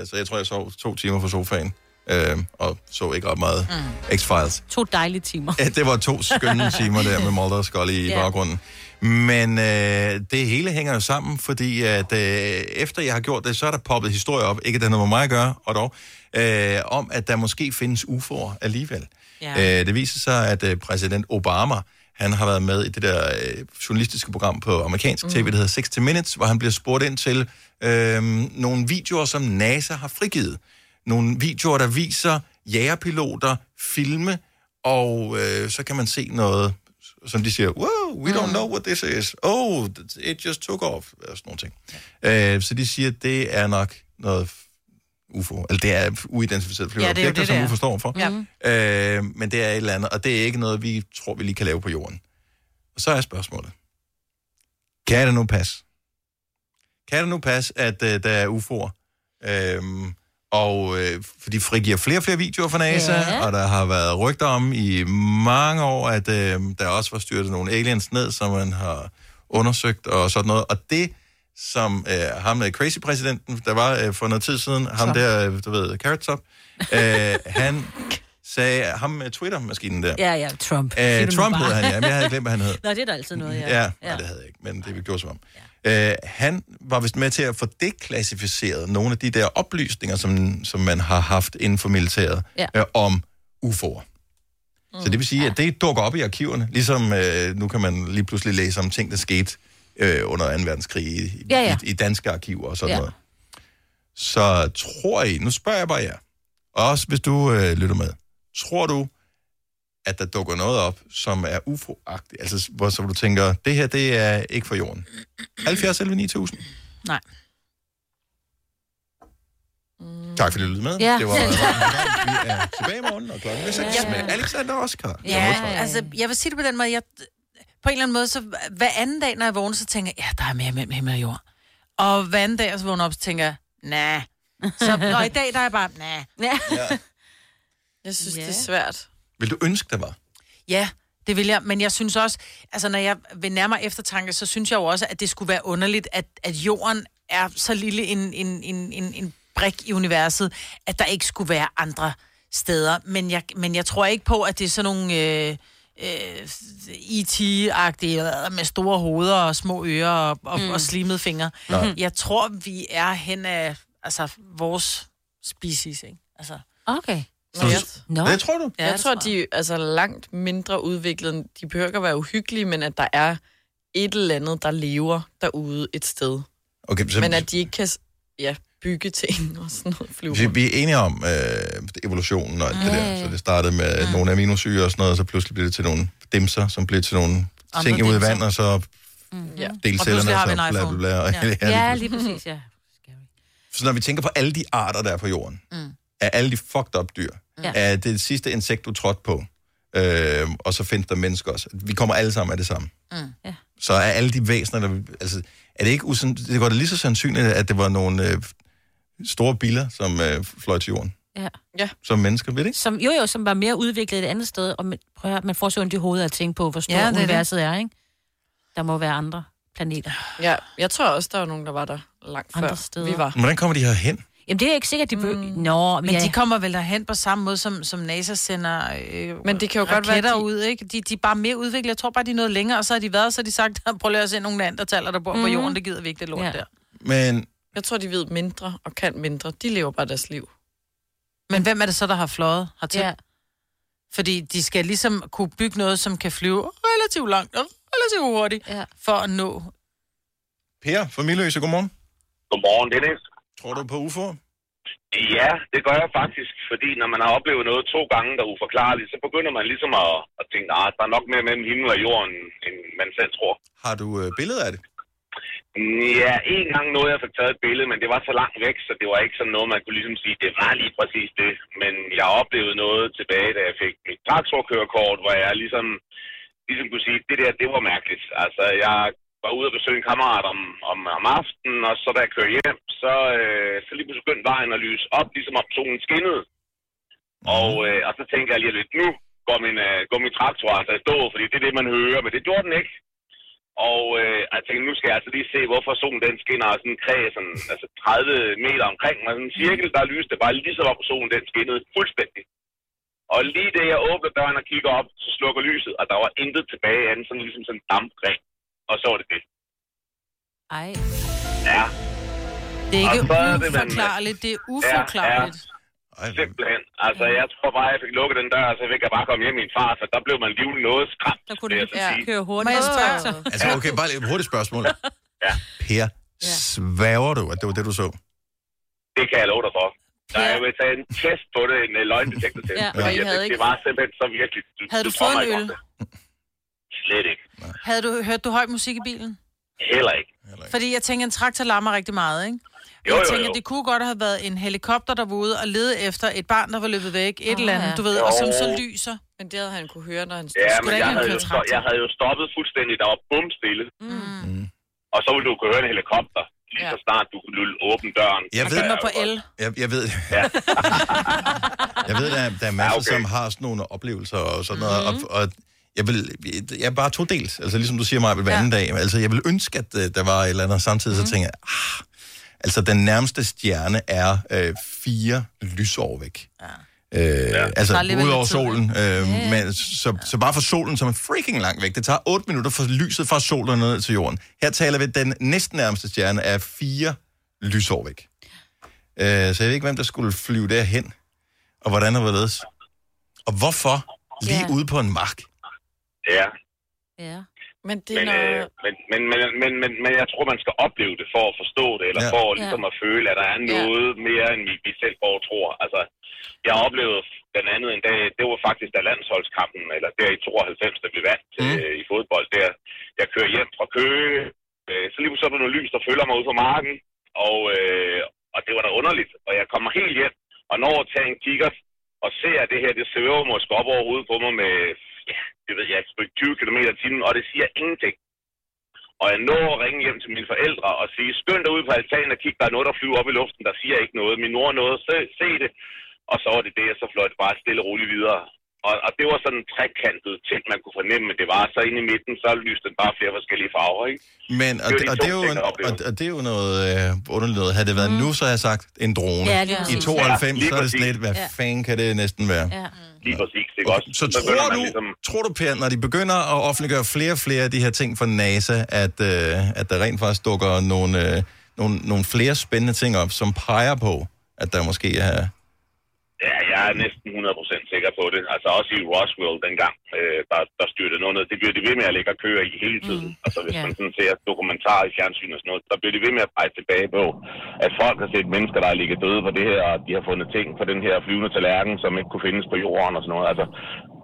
Øh, så jeg tror, jeg sov to timer på sofaen, øh, og så ikke ret meget mm. X-Files. To dejlige timer. Ja, det var to skønne timer der med Mulder og Scully i Ja. baggrunden. Men øh, det hele hænger jo sammen, fordi at øh, efter jeg har gjort det, så er der poppet historier op, ikke at det har noget med mig at gøre, og dog, øh, om at der måske findes UFO'er alligevel. Ja. Ja. Øh, det viser sig, at øh, præsident Obama, han har været med i det der øh, journalistiske program på amerikansk tv, Mhm. der hedder 60 Minutes, hvor han bliver spurgt ind til øh, nogle videoer, som NASA har frigivet. Nogle videoer, der viser jægerpiloter filme, og øh, så kan man se noget, som de siger, wow, we don't know what this is. Oh, it just took off. Og sådan nogle ting. Øh, så de siger, at det er nok noget UFO. Eller det er uidentificerede flyvende Ja, ja, det er jo objekter, det, som det er. UFO står for. Ja. Ja. Øh, men det er et eller andet, og det er ikke noget, vi tror, vi lige kan lave på jorden. Og så er spørgsmålet. Kan det nu passe? Kan det nu passe, at øh, der er UFO'er? Øhm, og øh, for de frigiver flere og flere videoer fra NASA, Ja. ja. og der har været rygter om i mange år, at øh, der også var styrtet nogle aliens ned, som man har undersøgt og sådan noget. Og det, som øh, ham der crazy-præsidenten, der var øh, for noget tid siden, ham Top. der, øh, du ved, Carrot Top, øh, han sagde, ham med Twitter-maskinen der. Ja, ja, Trump. Siger du Øh, nu Trump bare. hed han, ja, men jeg havde glemt, hvad han hed. Nå, det er der altid noget, ja. Ja, ja. Nej, det havde jeg ikke, men det vi gjorde som om. Ja. Øh, han var vist med til at få deklassificeret nogle af de der oplysninger, som, som man har haft inden for militæret, Ja. øh, om UFO'er. Mm. Så det vil sige, ja. at det dukker op i arkiverne, ligesom øh, nu kan man lige pludselig læse om ting, der skete øh, under 2. verdenskrig i, Ja, ja. i, i danske arkiver og sådan Ja. ja. noget. Så tror I, nu spørger jeg bare jer, og også hvis du øh, lytter med, tror du, at der dukker noget op, som er ufo-agtigt? Altså, hvor, så du tænker, det her, det er ikke for jorden. 70 11 9000. Nej. Tak fordi du lyttede med. Ja. Det var vi er tilbage i morgen, og klokken er 6 Ja. med Alexander Oskar. Ja, altså, jeg vil sige det på den måde, jeg, på en eller anden måde, så hver anden dag, når jeg vågner, så tænker jeg, ja, der er mere mellem himmel og jord. Og hver anden dag, jeg så vågner jeg op, så tænker jeg, nej. Så, og i dag, der er jeg bare, nej. Ja. Jeg synes, Ja. det er svært. Vil du ønske, der var? Ja, det vil jeg, men jeg synes også, altså når jeg ved nærmere eftertanke, så synes jeg jo også, at det skulle være underligt, at, at jorden er så lille en, en, en, en, en brik i universet, at der ikke skulle være andre steder. Men jeg, men jeg tror ikke på, at det er sådan nogle øh, øh, IT-agtige øh, med store hoveder og små ører og, og, Mm. mm. og slimede fingre. Mm-hmm. Nej. Jeg tror, vi er hen af altså, vores species, ikke? Altså, Okay. Nå, jeg, Nå. Det tror du? Ja, jeg tror, de er altså, langt mindre udviklede. end- De behøver ikke at være uhyggelige, men at der er et eller andet, der lever derude et sted. Okay, så- men at de ikke kan s- ja, bygge ting og sådan noget. Flyver. Vi, vi er enige om øh, evolutionen og alt det der. Så det startede med mm. nogle aminosyre og sådan noget, og så pludselig blev det til nogle dimser, som blev til nogle Andre ting ud i dimser. vand, og så Ja. delcellerne, Og pludselig har vi så en bla, bla, iPhone. bla, og- Ja, lige Mm. Ja, præcis. lige præcis, ja. Så når vi tænker på alle de arter, der er på jorden, Mm. af alle de fucked up dyr, Ja. ja. af det sidste insekt, du trådte på, øh, og så findes der mennesker også. Vi kommer alle sammen af det samme. Mm. ja. Så er alle de væsener, der... Altså, er det ikke usan... Det var da lige så sandsynligt, at det var nogle øh, store biler, som øh, fløj til jorden, ja. ja. som mennesker, ved det ikke? Som, jo, jo, som var mere udviklet et andet sted, og man, prøv at høre, man får så ondt i hovedet at tænke på, hvor stort Ja, ja, det er det. universet er, ikke? Der må være andre planeter. Ja, jeg tror også, der var nogen, der var der langt Andre før steder. vi var. Men Hvordan kommer de her hen? Jamen, det er ikke sikkert, de behøver... Mm. Nå, Men ja. ja. de kommer vel derhen på samme måde, som, som NASA sender øh, Men det kan jo godt være, raketter de- ud, ikke? De, de er bare mere udviklet. Jeg tror bare, de er noget længere, og så har de været, så har de sagt, prøv lige at se nogle neandertaler, der bor mm. på Mhm. jorden, det gider vi ikke, det lort ja. Ja. der. Men Jeg tror, de ved mindre og kan mindre. De lever bare deres liv. Men hvem er det så, der har fløjet hertil? Ja. Ja. Fordi de skal ligesom kunne bygge noget, som kan flyve relativt langt og relativt hurtigt, ja. for at nå. Per fra Milløse, godmorgen. Godmorgen, Dennis. Tror du på UFO'er? Ja, det gør jeg faktisk, fordi når man har oplevet noget to gange, der er uforklarligt, så begynder man ligesom at, at tænke, at der er nok mere mellem himlen og jorden, end man selv tror. Har du øh, billeder af det? Mm, Ja, en gang nåede jeg at få taget et billede, men det var så langt væk, så det var ikke sådan noget, man kunne ligesom sige, det var lige præcis det. Men jeg oplevede noget tilbage, da jeg fik mit traktorkørekort, hvor jeg ligesom, ligesom kunne sige, det der, det var mærkeligt. Altså, jeg var ude og besøge en kammerat om, om, om aftenen, og så da jeg kørte hjem, så, øh, så lige pludselig begyndte vejen at lyse op, ligesom om solen skinnede. Og, øh, og så tænkte jeg lige lidt, nu går min, øh, går min traktor altså i stå, fordi det er det, man hører, men det gjorde den ikke. Og øh, jeg tænkte, nu skal jeg altså lige se, hvorfor solen den skinner af sådan en kreds, sådan, altså 30 meter omkring mig. Sådan en cirkel, der lyste bare lige så op, solen den skinnede fuldstændig. Og lige da jeg åbner døren og kigger op, så slukker lyset, og der var intet tilbage andet, sådan ligesom sådan en dampring. Og så var det det. Ej. Ja. Det er Og ikke så er det, man- uforklarligt, det er uforklarligt. Ja, ja. Simpelthen. Altså, jeg tror bare, jeg fik lukket den dør, og så fik jeg bare komme hjem i en fart, for der blev man livlig noget skræmt. Der kunne det, ja. køre hurtigt. Må jeg spørge? Altså, okay, bare lige et hurtigt spørgsmål. ja. Per, svæver du, at det var det, du så? det kan jeg love dig for. Der er jo taget en test på det, en øh, løgndetektortest. Ja, ja, og fordi I jeg havde tænkte, ikke- det var simpelthen så virkelig. Du, Havde du tror fået mig en ikke øl? om det. Slet ikke. Havde du hørt du høj musik i bilen? Heller ikke. Fordi jeg tænker, en traktor larmer rigtig meget, ikke? Jo, Jo, jeg jo, tænker, jo. det kunne godt have været en helikopter, der var ude og lede efter et barn, der var løbet væk, et oh, eller andet, ja. du ved, og som så Jo. lyser. Men det havde han kunne høre, når han stod. Ja, Skulle men da jeg ikke havde, jo have sto- jeg havde jo stoppet fuldstændig. Der var bum stille. Mm. Og så ville du kunne høre en helikopter, lige så snart du kunne lulle- åbne døren. Jeg ved, El. Jeg, jeg ved, jeg ved der, er- der er masser, ja, okay. som har sådan nogle oplevelser og sådan noget. Mm-hmm. Og, og jeg, vil, jeg er bare to dels. Altså, ligesom du siger mig hver anden dag. Altså, jeg vil ønske, at øh, der var et eller andet, og samtidig Mhm. mm-hmm. så tænker jeg, ah, altså, den nærmeste stjerne er øh, fire lysår væk. Ja. Øh, ja. Der er Altså, alligevel ud over lidt tid, ikke? solen. Øh, yeah. men, så, så bare for solen, som er freaking langt væk. Det tager 8 minutter for lyset fra solen og ned til jorden. Her taler vi, den næsten nærmeste stjerne er fire lysår væk. Øh, så jeg ved ikke, hvem der skulle flyve derhen, og hvordan og hvorledes. Og hvorfor lige Ja. ude på en mark? Ja, Ja. Men det er men, når... øh, men, men, men, men, men, men jeg tror, man skal opleve det for at forstå det, eller Ja. ja. for ligesom at føle, at der er Ja. noget mere, end vi, vi selv går og tror. Altså, jeg oplevede blandt andet en dag, det var faktisk, da landsholdet landsholdskampen, eller der i 92, da vi vandt mm. øh, i fodbold, der jeg kører hjem fra Køge, øh, så lige pludselig er der noget lys, der følger mig ud på marken, og, øh, og det var da underligt, og jeg kommer helt hjem, og når jeg tager en kigger, og ser at det her, det svæver måske op over hovedet på mig med, ja, det ved jeg, et stykke 20 km i timen, og det siger ingenting. Og jeg når at ringe hjem til mine forældre og sige, skynd dig ud på altanen og kig, der er noget, der flyver op i luften, der siger ikke noget. Min mor nåede, se, se det. Og så var det det, og så fløj det bare stille og roligt videre. Og, og det var sådan en trekantet ting, man kunne fornemme, men det var. Så inde i midten, så lyste den bare flere forskellige farver, ikke? Men, og, Det er jo de det, og, to det er jo ting, en, jeg oplever. og, og det er jo noget øh, underligt noget. Havde det været mm. nu, så havde jeg sagt en drone. Ja, lige I præcis. 92, Ja, lige så er det sådan præcis. lidt, hvad Ja. fanden kan det næsten være? Ja. Lige præcis, det er godt. Så tror du, ligesom- tror du, Per, når de begynder at offentliggøre flere og flere af de her ting fra NASA, at, øh, at der rent faktisk dukker nogle, øh, nogle, nogle flere spændende ting op, som peger på, at der måske er... Ja, jeg er næsten 100% sikker på det. Altså også i Roswell dengang, øh, der, der styrte noget ned. Det bliver de ved med at ligge og køre i hele tiden. Mm. Altså hvis Ja. yeah. man sådan ser dokumentarer i fjernsyn og sådan noget, der bliver de ved med at pege tilbage på, at folk har set mennesker, der har ligget døde på det her, og de har fundet ting på den her flyvende tallerken, som ikke kunne findes på jorden og sådan noget. Altså,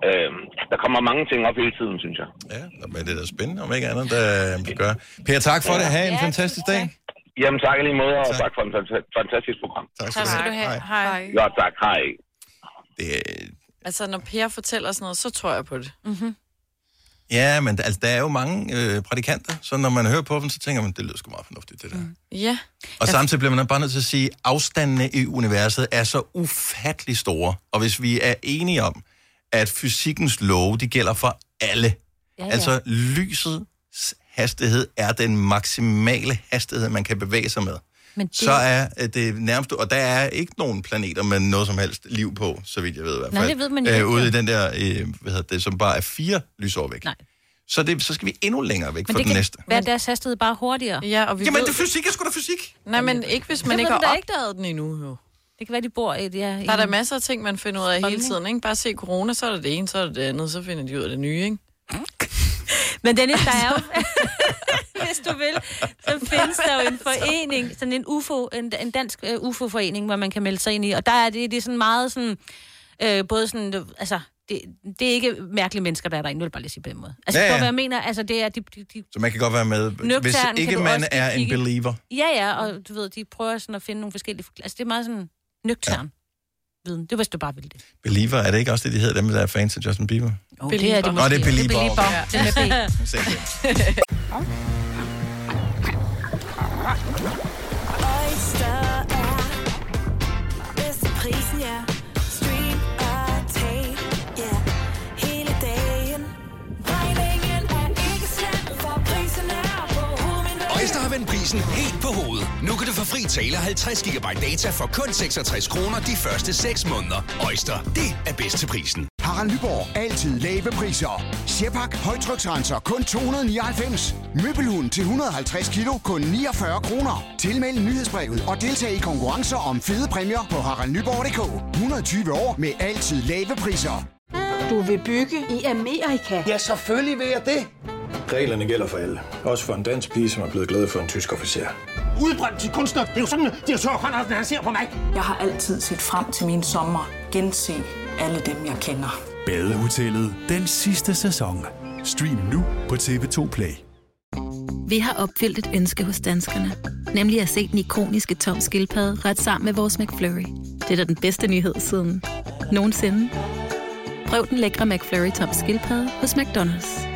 øh, der kommer mange ting op hele tiden, synes jeg. Ja, men det er da spændende, om ikke andet, der øh, gør. Per, tak for det. Ha' en fantastisk dag. Jamen tak i lige måde, og tak, tak for en fanta- fantastisk program. Tak Tak skal du have. Hej. Hej. Ja, tak. Hej. Altså, når Per fortæller sådan noget, så tror jeg på det. Mm-hmm. Ja, men der- altså, der er jo mange øh, prædikanter, så når man hører på dem, så tænker man, det lyder sgu meget fornuftigt, det der. Mm. Ja. Og samtidig bliver man bare nødt til at sige, at afstandene i universet er så ufattelig store. Og hvis vi er enige om, at fysikkens love, de gælder for alle. Ja, Ja, ja. ja. Altså lysets hastighed er den maksimale hastighed, man kan bevæge sig med. Men det- Så er øh, det nærmest... Og der er ikke nogen planeter med noget som helst liv på, så vidt jeg ved i hvert Nej, fald. det ved man jo ikke, ude jo. i den der, øh, hvad hedder det, som bare er fire lysår væk. Nej. Så, det, så skal vi endnu længere væk Men fra det den kan næste. være deres hastighed bare hurtigere. Ja, og vi Jamen, ved- det er fysik, er sgu da fysik. Nej, men ikke hvis man Det ikke ved vi da har ikke. opdaget den endnu, jo. Det kan være, de bor i... Ja, Der er der masser af ting, man finder ud af hele tiden, ikke? Bare se corona, så er det det ene, så er det det andet, så finder de ud af det nye, ikke? Men Dennis, der er jo... Hvis du vil, så findes der jo en forening, sådan en, UFO, en, en dansk uh, UFO-forening, hvor man kan melde sig ind i. Og der er det, det er sådan meget sådan... Øh, både sådan... øh, Altså, det, det er ikke mærkelige mennesker, der er derinde, vil jeg bare lige sige på den måde. Altså, Ja, ja, ja. ja. hvad jeg mener, altså det er... De, de, de, Så man kan godt være med, Nøgtern hvis kan ikke du man også lige er en kigge. believer. ja, ja, og du ved, de prøver sådan at finde nogle forskellige... forkl- Altså, det er meget sådan nøgtern ja. viden. Det var, hvis du bare ville det. Believer, er det ikke også det, de hedder, dem der er fans af Justin Bieber? Jo, det er det Nå, det er måske. Det Belieber. er Belieber. okay. Det er med B. Se det. Oyster er bedst til prisen, ja. Stream og tag, ja. Hele dagen. Regningen er ikke slem, for prisen er på hovedet. Øjster har vendt prisen helt på hovedet. Nu kan du få fri tale og 50 GB data for kun 66 kroner de første 6 måneder. Øjster, det er bedst til prisen. Harald Nyborg. Altid lave priser. Sjehpak. Højtryksrenser. Kun 299. Møbelhund til 150 kilo. Kun 49 kroner. Tilmeld nyhedsbrevet og deltag i konkurrencer om fede præmier på haraldnyborg.dk. 120 år med altid lave priser. Du vil bygge i Amerika? Ja, selvfølgelig vil jeg det. Reglerne gælder for alle. Også for en dansk pige, som er blevet glad for en tysk officer. Udbrændt til kunstner. Det er jo sådan, at de har tørt, han ser på mig. Jeg har altid set frem til min sommer. Gense alle dem, jeg kender. Badehotellet den sidste sæson. Stream nu på TV2 Play. Vi har opfyldt et ønske hos danskerne. Nemlig at se den ikoniske tom skildpadde ret sammen med vores McFlurry. Det er da den bedste nyhed siden nogensinde. Prøv den lækre McFlurry tom skildpadde hos McDonald's.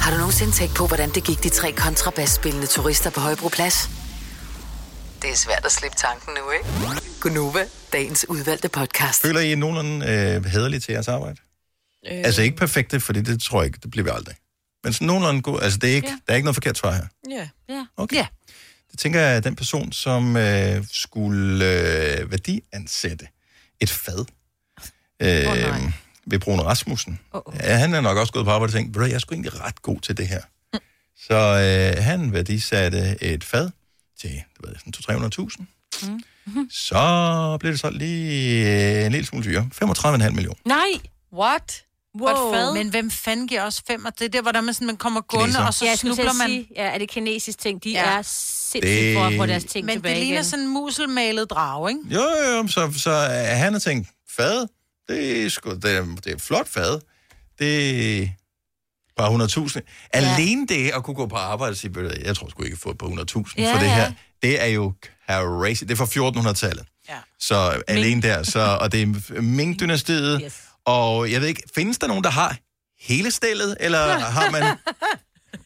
Har du nogensinde tænkt på, hvordan det gik de tre kontrabasspillende turister på Højbroplads? Det er svært at slippe tanken nu, ikke? Gunova, dagens udvalgte podcast. Føler I er nogenlunde øh, hederligt til jeres arbejde? Øh. Altså ikke perfekte, for det tror jeg ikke, det bliver vi aldrig. Men sådan nogenlunde god, altså det er ikke, Ja. ja. der er ikke noget forkert svar her. Ja. Ja. Okay. Ja. Det tænker jeg, at den person, som øh, skulle øh, værdiansætte et fad øh, oh, ved Bruno Rasmussen. Oh, oh. Ja, han er nok også gået på arbejde og tænkt, "Ved du hvad, jeg er sgu egentlig ret god til det her. Mm. Så øh, han værdisatte et fad til det ved, jeg, sådan 200-300.000. Mm. Så blev det så lige øh, en lille smule dyre. 35,5 millioner. Nej. What? Wow. Wow. Men hvem fanden giver også fem? Og det er der, hvor der man, sådan, man kommer gående, Kineser. og så Ja, ja, jeg skulle til snubler man. at sige, ja, er det kinesisk ting? De er sindssygt Det- for at få deres ting Men tilbage det ligner igen. sådan en muselmalet drage, ikke? Jo, jo, jo, så, så øh, han har tænkt, fad. Det er, sgu, det er, det er et flot fad. Det er et par hundredtusinde. Ja. Alene det at kunne gå på arbejde og sige, "Ved du hvad, jeg tror sgu ikke, jeg får et par hundredtusinde Ja, for det ja. her. Det er jo crazy. Det er fra 1400-tallet. Ja. Så alene der. Så, og det er Ming-dynastiet. Yes. Og jeg ved ikke, findes der nogen, der har hele stillet? Eller har man...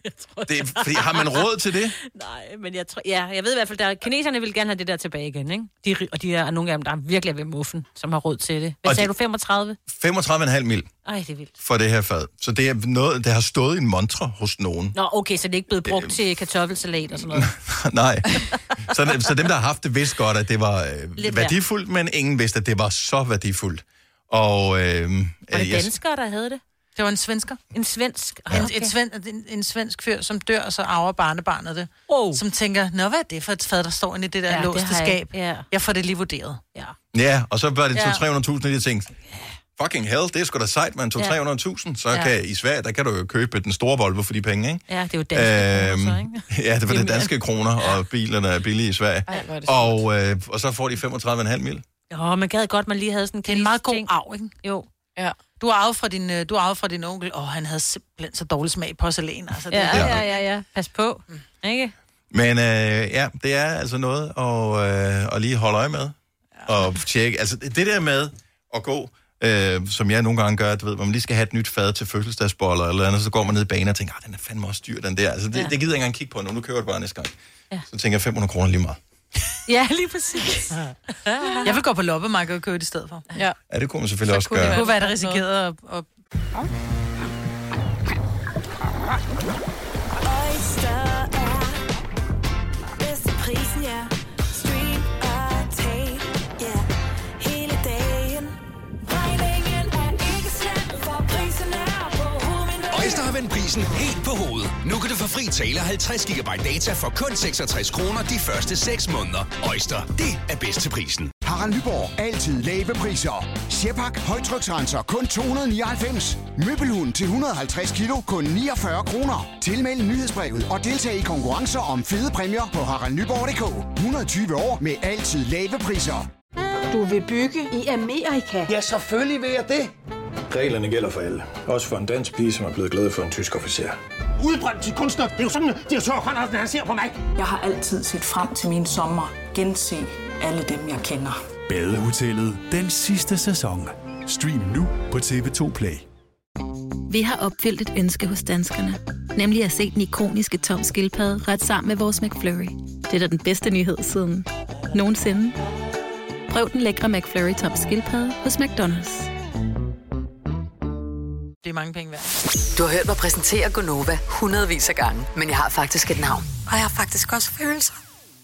det, er- fordi, har man råd til det? Nej, men jeg tror... Ja, jeg ved i hvert fald, at kineserne vil gerne have det der tilbage igen, ikke? De, er rig- og de er, og nogle af dem, der er virkelig ved muffen, som har råd til det. Hvad Og sagde de- du, 35? 35,5 mil Ej, det er vildt. for det her fad. Så det er noget, der har stået i en montre hos nogen. Nå, okay, så det er ikke blevet brugt til kartoffelsalat og sådan noget. Nej. Så, så dem, der har haft det, vidste godt, at det var øh, Lidt værdifuldt, men ingen vidste, at det var så værdifuldt. Og, Var øh, det jeg- danskere, der havde det? Det var en svensker. En svensk? Ah, Ja. En, et sven, en, en svensk fyr, som dør, og så arver barnebarnet det. Oh. Som tænker, nå, hvad er det for et fad, der står inde i det der Ja, ja, det låste har jeg- skab? ja. Jeg får det lige vurderet. Ja. Ja, og så var det Ja. 200-300.000, og jeg tænkte, fucking hell, det er sgu da sejt, man. 200-300.000, Ja. så Ja. ja. kan i Sverige, der kan du jo købe den store Volvo for de penge, ikke? Ja, det er jo danske øhm, så, ikke? Ja, det var Jamen, det danske kroner, og bilerne er billige i Sverige. Ej, hvor er det og, øh, og så får de 35,5 mil. Åh, man gad godt, man lige havde sådan en Det er en meget god arv, ikke? Jo. Ja. Du har arvet fra din, øh, du har arvet fra din onkel, og han havde simpelthen så dårlig smag i porcelæn. Altså, det, Ja, er- ja, ja, ja. Pas på. Mm. Ikke? Men øh, ja, det er altså noget at, øh, at lige holde øje med. Og tjekke. Altså det det der med at gå, øh, som jeg nogle gange gør, du ved, hvor man lige skal have et nyt fad til fødselsdagsboller eller andet, så går man ned i banen og tænker, "Ah, den er fandme også dyr, den der. Altså det, Ja. ja. det gider jeg ikke engang kigge på nu, nu kører jeg det bare næste gang. Ja. Ja. Så tænker jeg 500 kroner lige meget. Ja, lige præcis. Jeg vil gå på loppemarkedet og købe det i stedet for. Ja. Ja, det kunne man selvfølgelig også Kunne det gøre. kunne være, der risikerede at... at... Oyster er bedst til prisen, ja. Stream og tag, ja. Hele dagen. Regningen er ikke slem, for prisen er på hovedet. Øjster har vendt prisen helt på hovedet. Nu kan du få fri tale og 50 GB data for kun 66 kroner de første 6 måneder. Øjster, det er bedst til prisen. Harald Nyborg. Altid lave priser. Sjehpak. Højtryksrenser. Kun 299. Møbelhund til 150 kilo. Kun 49 kroner. Tilmeld nyhedsbrevet og deltag i konkurrencer om fede præmier på haraldnyborg.dk. 120 år med altid lave priser. Du vil bygge i Amerika? Ja, selvfølgelig vil jeg det. Reglerne gælder for alle. Også for en dansk pige, som er blevet glad for en tysk officer. Udbrændt til kunstner. Det er jo sådan, at de har tørt, han, han ser på mig. Jeg har altid set frem til min sommer. Gense alle dem, jeg kender. Badehotellet den sidste sæson. Stream nu på TV2 Play. Vi har opfyldt et ønske hos danskerne. Nemlig at se den ikoniske tom skildpadde ret sammen med vores McFlurry. Det er da den bedste nyhed siden nogensinde. Prøv den lækre McFlurry tom skildpadde hos McDonald's. Det er mange penge værd. Du har hørt mig præsentere Gonova hundredvis af gange, men jeg har faktisk et navn. Og jeg har faktisk også følelser.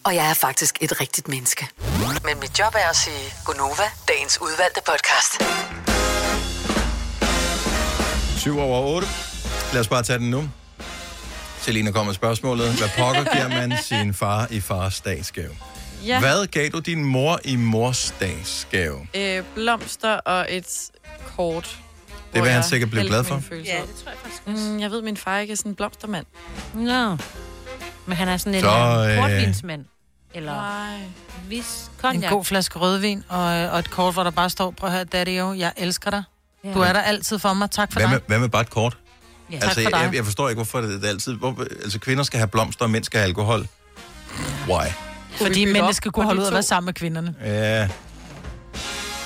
Og jeg er faktisk et rigtigt menneske. Men mit job er at sige Gonova, dagens udvalgte podcast. 7 over 8. Lad os bare tage den nu. Selina kommer med spørgsmålet. Hvad pokker giver man sin far i fars dagsgave? Ja. Ja. Hvad gav du din mor i mors dagsgave? Øh, blomster og et kort. vil hvor han jeg sikkert blive hældte glad for. mine følelser Ja, op. Mm, jeg ved, min far ikke er sådan en blomstermand. Nå. Men han er sådan en Så, så, øh, øh... portvinsmand. Eller Nej. vis En konjak. god flaske rødvin og, øh, og et kort, hvor der bare står, prøv at høre, daddy, jo, jeg elsker dig. Ja. Du er der altid for mig. Tak for Hvad dig. med, hvad med bare et kort? Ja. Tak altså, for dig. jeg, jeg forstår ikke, hvorfor det, det er altid... Hvor, altså, kvinder skal have blomster, og mænd skal have alkohol. Why? Fordi mændene skal kunne holde ud og være sammen med kvinderne. Ja.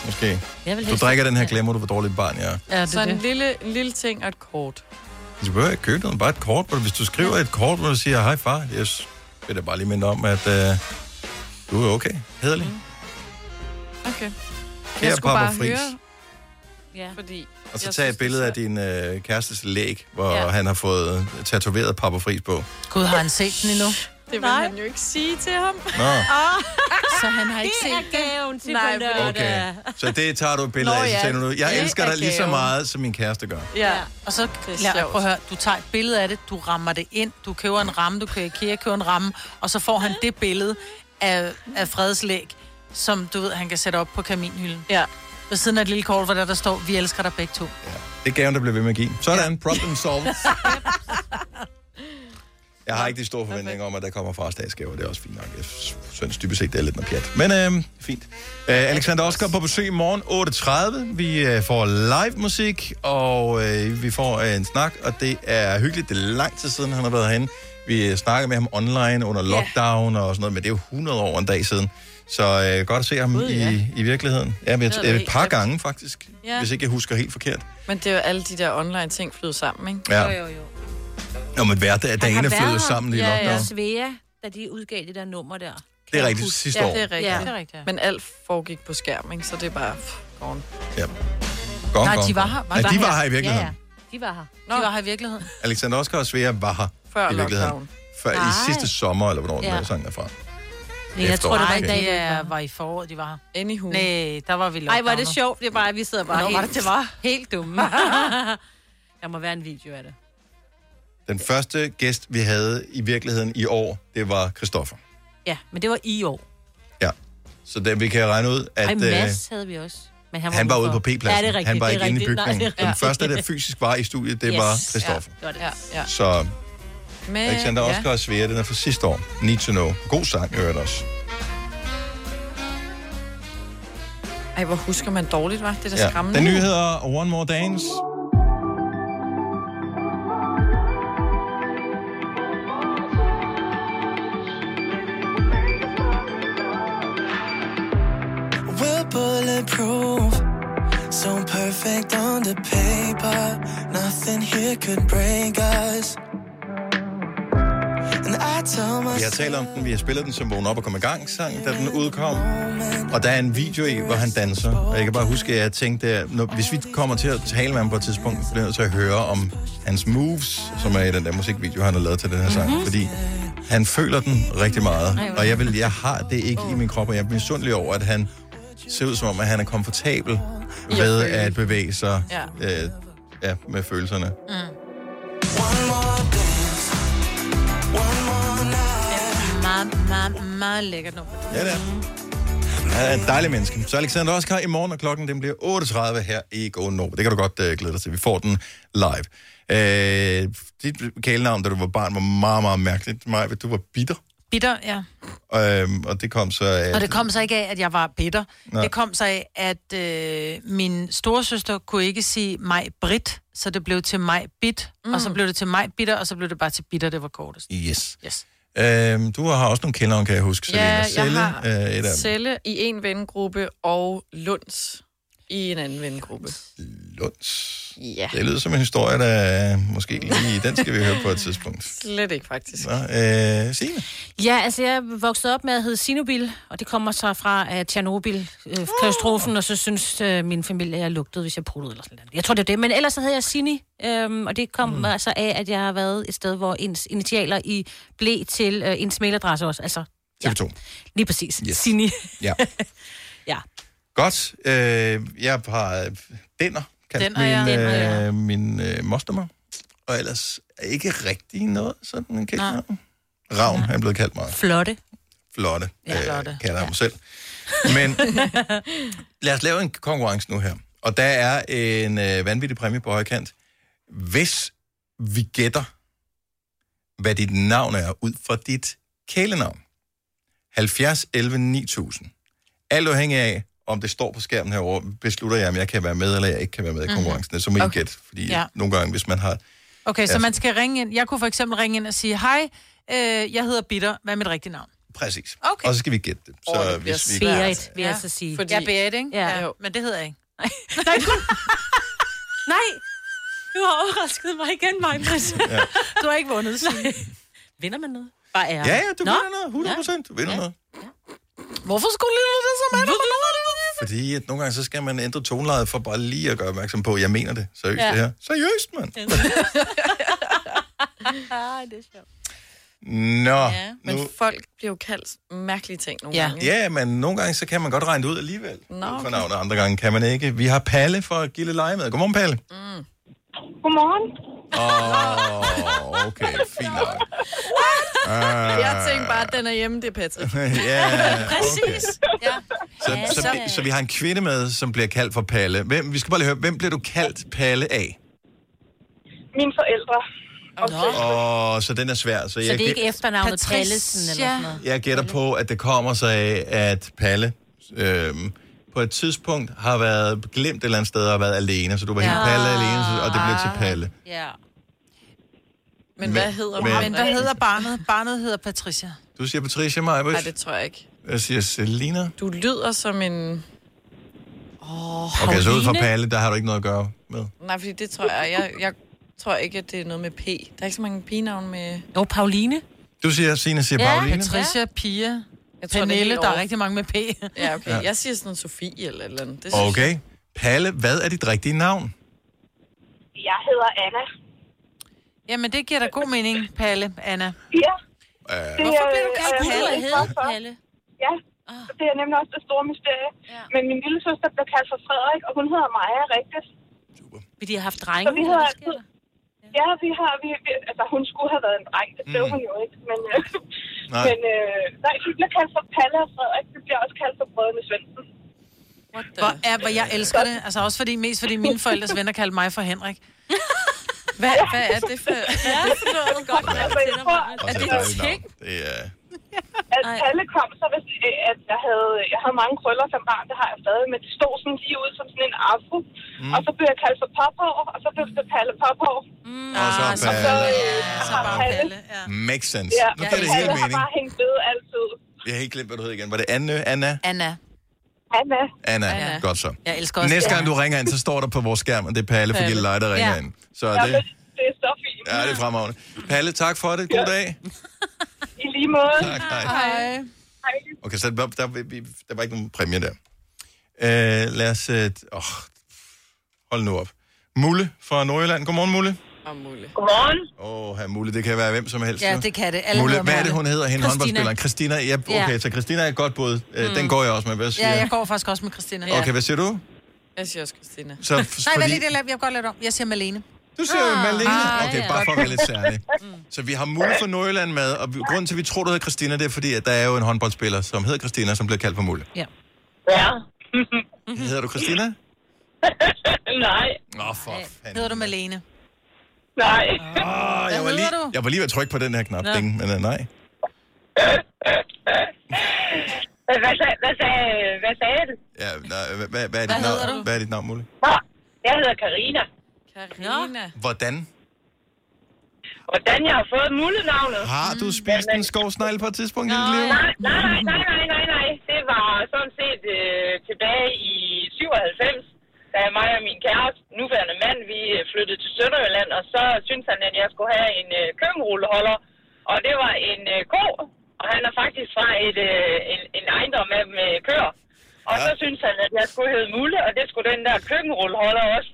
Måske. Jeg vil Du helst- drikker den her, glemmer du, hvor dårligt barn jeg er. Ja, det så en det. lille, en lille ting og et kort. Du behøver ikke købe noget, bare et kort. hvor- Hvis du skriver et kort, hvor du siger, hej far, jeg s- vil da bare lige minde om, at øh, du er okay. Hederlig. Okay. Kære Papa Friis. Ja. Fordi Og så jeg tag synes, et billede af din øh, kærestes læg, hvor ja. han har fået øh, tatoveret Papa Friis på. Gud, har han set den endnu? Det vil Nej. han jo ikke sige til ham. Nå. Så han har ikke Det set er gaven til på hvor- Okay, så det tager du et billede Nå af, så ja, tænker du, jeg det elsker er dig lige så gaven." meget, som min kæreste gør. Ja. Og så lad, prøv at høre, du tager et billede af det, du rammer det ind, du køber en ramme, du kører i IKEA, køber en ramme, og så får han det billede af, af fredslæg, som du ved, han kan sætte op på kaminhylden. Ja. Ved siden af et lille kort, hvor der, der står, vi elsker dig begge to. Det er gaven, der bliver ved med at give. Sådan, problem solved. Jeg har ikke de store forventninger om, at der kommer fra statsgaver. Det er også fint nok. Jeg synes dybest set, det er lidt noget pjat. Men øh, fint. Øh, Alexander Oskar på besøg i morgen 8.30. Vi øh, får live musik, og øh, vi får øh, en snak, og det er hyggeligt. Det er lang tid siden, han har været herinde. Vi øh, snakkede med ham online under lockdown og sådan noget, men det er jo 100 år og en dag siden. Så øh, godt at se ham Gud, i, ja. i virkeligheden. Ja, men et, Det er da et helt par glemt. gange faktisk, Ja. hvis ikke jeg husker helt forkert. Men det er jo alle de der online ting flyder sammen, ikke? Ja. Jo, jo, Nå, men hverdag er Han dagen har er været flyttet sammen i ja, lockdown. Ja, Svea, da de udgav det der nummer der. Det er rigtigt sidste ja, år. Det er rigtigt. Ja, det er rigtigt, ja. Men alt foregik på skærm, ikke? Så det er bare... Pff, gone. Ja. Gone, Nej, gone, de var gone. her. Var Nej, de de her? var her i virkeligheden. Ja, De var her. Nå. De var her i virkeligheden. Alexander Oskar og Svea var her Før i virkeligheden. lockdown. Før Nej. i sidste sommer, eller hvornår Ja. ja. den sang er fra. Nej, jeg tror, det var i Efterår. dag, jeg var i foråret, de var her. Anywho. Nej, der var vi Ej, hvor er det sjovt. Det er bare, at vi sidder bare Hvornår helt, var det, det var? helt dumme. der må være en video af det. Den første gæst, vi havde i virkeligheden i år, det var Christoffer. Ja, men det var i år. Så der, vi kan regne ud, at Ej, øh, Mads havde vi også. Men han var, han var ude udenfor. på P-pladsen. Ja, det er rigtigt. han var det er ikke inde i rigtigt. Nej, bygningen. det er Den første, der rigtigt. fysisk var i studiet, det Yes. var Christoffer. Ja, Øh, det var det. Ja, ja. Så Men, Alexander Oskar og Svea, den er fra sidste år. Need to know. God sang, i øvrigt også. Ej, hvor husker man dårligt, var Det er da ja. skræmmende. Den nye hedder One More Dance. We're bulletproof, so perfect on the paper. Nothing here could break us. And I tell Vi har myself, talt om den, vi har spillet den som vågen op og kom i gang sang, da den udkom. Og der er en video i, hvor han danser. Og jeg kan bare huske, at jeg tænkte, at når, hvis vi kommer til at tale med ham på et tidspunkt, bliver jeg nødt til at høre om hans moves, som er i den der musikvideo, han har lavet til den her sang. Mhm. Fordi han føler den rigtig meget. Ej, hvor- Og jeg, vil, jeg har det ikke i min krop, og jeg er misundelig over, at han ser ud som om, at han er komfortabel ved at bevæge sig øh, ja, med følelserne. one more dance, one more night. Meget, meget, meget lækkert nummer. Ja, det er. Han er et dejligt menneske. Så Alexander Oskar i morgen, og klokken den bliver 8.30 her i Gående Nord. Det kan du godt øh, glæde dig til. Vi får den live. Øh, dit kælenavn, da du var barn, var meget, meget mærkeligt. Maja, du var bitter, Bitter, ja. øh, og det kom så... Øh, Og det kom så ikke af, at jeg var bitter. Nej. Det kom så af, at øh, min storesøster kunne ikke sige mig Brit, så det blev til mig Bit, mm. og så blev det til mig Bitter, og så blev det bare til Bitter, det var kortest. Yes. yes. Øh, du har også nogle kælenavn, kan jeg huske. Selina. Ja, jeg Selle, har øh, et af dem. Celle i en vennegruppe og Lunds i en anden vennegruppe. Lunds. Ja. Det lyder som en historie, der øh, måske lige... Den skal vi høre på et tidspunkt. Slet ikke, faktisk. Nå, øh, Signe? Ja, altså jeg voksede op med at hedde Sinobil, og det kommer så fra uh, Tjernobyl-katastrofen, og så synes uh, min familie, at jeg lugtede, hvis jeg pruttede eller sådan noget. Jeg tror, det er det, men ellers så hedder jeg Sini, øhm, og det kom mm. altså af, at jeg har været et sted, hvor ens initialer i blev til uh, ens mailadresse også. Altså, TV2. lige præcis. Yes. Sini. Ja. Ja. Godt. Øh, jeg har dænner, kan Dænder, min, ja. Dænder, øh, ja. min øh, mostermor. Og ellers er ikke rigtig noget sådan en kæld. Ravn, han er blevet kaldt meget. Flotte. Flotte, øh, Ja, flotte. kalder jeg mig selv. Men lad os lave en konkurrence nu her. Og der er en øh, vanvittig præmie på højkant. Hvis vi gætter, hvad dit navn er ud fra dit kælenavn. 70 11 9000. Alt afhængig af, om det står på skærmen herovre, beslutter jeg, om jeg kan være med, eller jeg ikke kan være med i Mhm. konkurrencen. Så må I Okay. gætte, fordi Ja. ja. nogle gange, hvis man har... Okay, så Ja. man skal ringe ind. Jeg kunne for eksempel ringe ind og sige, hej, øh, jeg hedder Bitter, hvad er mit rigtige navn? Præcis. Okay. Og så skal vi gætte det. Så oh, bliver hvis vi... Berit, vil jeg så sige. Fordi... Jeg er Berit, ikke? Ja. Men det hedder jeg ikke. Nej, du... Nej, du har overrasket mig igen, mig. Ja. Du har ikke vundet. Signe. Vinder man noget? Bare ære. Ja, ja, du vinder noget. 100 procent. Du vinder ja. noget. Hvorfor skulle du det så meget? Fordi at nogle gange, så skal man ændre tonelejet for bare lige at gøre opmærksom på, at jeg mener det. Seriøst, Ja. ja. det her. Seriøst, mand. Ej, Ah, det er sjovt. Nå, Ja, men nu... folk bliver jo kaldt mærkelige ting nogle gange. ikke? Ja, men nogle gange, så kan man godt regne det ud alligevel. Nå, For okay. navn, og andre gange kan man ikke. Vi har Palle fra Gille Leje med. Godmorgen, Palle. Mm. Godmorgen. Åh, oh, okay, fint nok. Ah. Jeg tænkte bare, at den er hjemme, det er Patrick. Ja, præcis. Okay. Ja. Så, så, så, så vi har en kvinde med, som bliver kaldt for Palle. Hvem, vi skal bare lige høre, hvem bliver du kaldt Palle af? Mine forældre. Okay. Og så den er svær. Så, Så jeg det er gæt- ikke efternavnet Patricia. Pallesen eller sådan noget? Jeg gætter på, at det kommer sig af, at Palle øhm, på et tidspunkt har været glemt et eller andet sted og været alene, så du var ja. helt Palle alene, så- og det blev til Palle. Ja. Men hvad Men- hedder men- men, men hvad hedder barnet? Barnet hedder Patricia. Du siger Patricia Majbøs. Nej, det tror jeg ikke. Jeg siger Selina. Du lyder som en... Oh, Okay, så ud fra Palle, der har du ikke noget at gøre med. Nej, fordi det tror jeg... Jeg, jeg tror ikke, at det er noget med P. Der er ikke så mange pigenavne med... Jo, Pauline. Du siger, Signe siger Pauline. Patricia, Pia, jeg tror, det er Pernille, helt der er over. rigtig mange med P. Ja, okay. Ja. Ja. Jeg siger sådan Sofie eller et eller andet. Det synes Okay. Palle, hvad er dit rigtige navn? Jeg hedder Anna. Jamen, det giver da god mening, Palle, Anna. Ja. Øh, Hvorfor bliver du kaldt øh, Palle? jeg ved Hedder ikke, hvorfor. Ja, det er nemlig også det store mysterie. Ja. Men min lille søster blev kaldt for Frederik, og hun hedder Maja rigtigt. Fordi de har haft Så drenge. vi hedder altid... Ja, vi har... Vi, vi, altså, hun skulle have været en dreng, det blev Mm. hun jo ikke. Men, øh, Nej. men øh, nej, vi bliver kaldt for Palle og Frederik. Vi bliver også kaldt for Brødrene Svendsen. Hvor, er, hvor jeg elsker det. Altså også fordi, mest fordi mine forældres venner kaldte mig for Henrik. Hvad, hvad er det for... Ja, det godt. Altså, jeg tror, Og så at, et at, dejligt navn. Det er... at Palle kom, så hvis, øh, at jeg havde, jeg havde mange krøller som barn, det har jeg stadig, men det stod sådan lige ud som sådan en afro. Mm. Og så blev jeg kaldt for Pophår, og så blev det Palle Pophår. Mm. Og så og så, Palle. øh, så bare Palle. Makes sense. Ja. Nu giver det helt Palle har mening. bare hængt ved altid. Jeg har helt glemt, hvad du hed igen. Var det Anne? Anna? Anna. Anna. Anna. Anna. Anna. Godt så. Jeg elsker også Næste gang Anna. du ringer ind, så står der på vores skærm, at det er Palle, fordi det er Palle. dig, der ringer Ja. ind. Så Ja, er men det, det er så fint. ja, det er fremragende. Palle, tak for det. God dag. I lige måde. Tak, hej. Hej. Hej. Okay, så der, der, vi- der var ikke nogen præmie der. Øh, lad os... øh, Åh, hold nu op. Mulle fra Nordjylland. Godmorgen, Mulle. Og Mulle. Godmorgen. Åh, oh, Mulle, det kan være hvem som helst. Ja, jo. det kan det. Alle Mulle, hedder hvad er det, Mulle. hun hedder? Hende Christina. håndboldspilleren. Christina. Ja, okay, Ja. så Christina er et godt bud. Mm. Den går jeg også med. Hvad siger Ja, jeg går faktisk også med Christina. Okay, hvad siger du? Jeg siger også Christina. Så f- Nej, hvad fordi- lidt, jeg laver- jeg går lidt om. Jeg siger Malene. Du siger ah, Malene. Okay, ja. bare for at være lidt særlig. Så vi har Mulle fra Nordjylland med, og vi- grunden til, at vi tror, du hedder Christina, det er fordi, at der er jo en håndboldspiller, som hedder Christina, som bliver kaldt for Mulle. Ja. Hedder du Christina? Nej. Nå, for fanden. Hedder du Malene? Nej. Ah. Åh, jeg, var lige, jeg var lige ved at trykke på den her knap, Nå. ding, men øh, nej. Hvad, sag, hvad, sag, hvad sagde du? Ja, nej hvad, hvad, hvad, er dit Hvad hedder navn? du? Hvad er dit navn, Mulle? Jeg hedder Karina. Karina. Hvordan? Hvordan jeg har fået mulenavnet? Har du spist en skovsnegl på et tidspunkt i dit liv? Nej, nej, nej, nej, nej, nej, nej. Det var sådan set øh, tilbage i 97, da mig og min kæreste, nuværende mand, vi øh, flyttede til Sønderjylland, og så syntes han, at jeg skulle have en øh, køkkenrulleholder, og det var en øh, ko, og han er faktisk fra et, øh, en, en ejendom af med køer. Og så syntes han, at jeg skulle hedde Mulle, og det skulle den der køkkenrulleholder også.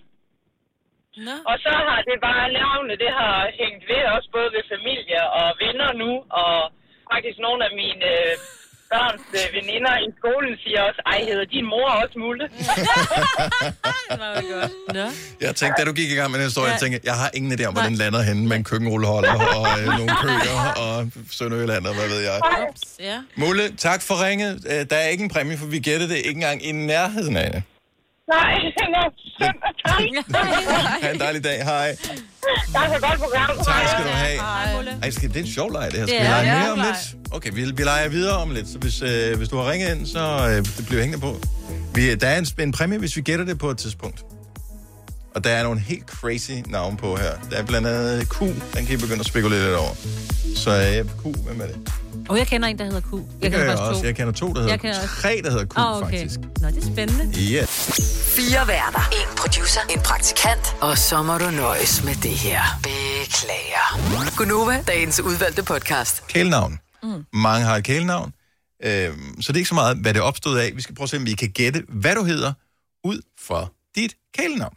Nå. Og så har det bare navnet, det har hængt ved også både ved familie og venner nu, og faktisk nogle af mine øh, børns øh, veninder i skolen siger også, ej, hedder din mor også Mulle? Jeg tænkte, da du gik i gang med den historie, Ja. jeg tænkte, jeg har ingen idé om, hvor den lander henne med en køkkenrulleholder og øh, nogle køer og Sønderjylland og hvad ved jeg. Ups, ja. Mulle, tak for ringet. Øh, Der er ikke en præmie, for vi gættede det ikke engang i nærheden af det. Nej, nå, Ha' en dejlig dag. Hej. tak for et godt program. Tak skal du have. Ej, skal, det er en sjov leg, det her. Skal Det vi er lege det. mere om Ja. lidt? Okay, vi, vi leger videre om lidt, så hvis, øh, hvis du har ringet ind, så øh, det bliver hængende på. Vi, der er en, en præmie, hvis vi gætter det på et tidspunkt. Og der er nogle helt crazy navne på her. Der er blandt andet Q, den kan I begynde at spekulere lidt over. Så øh, Q, hvem er det? Og jeg kender en, der hedder Q. Jeg Det gør kender jeg faktisk også. Jeg kender to, der Jeg hedder kender også. Tre, der hedder Q, Åh, Ah, okay. faktisk. Nå, det er spændende. Yeah. Fire værter. En producer. En praktikant. Og så må du nøjes med det her. Beklager. Gunova, dagens udvalgte podcast. Kælenavn. Mm. Mange har et kælenavn. Øhm, så det er ikke så meget, hvad det opstod af. Vi skal prøve at se, om vi kan gætte, hvad du hedder, ud fra dit kælenavn.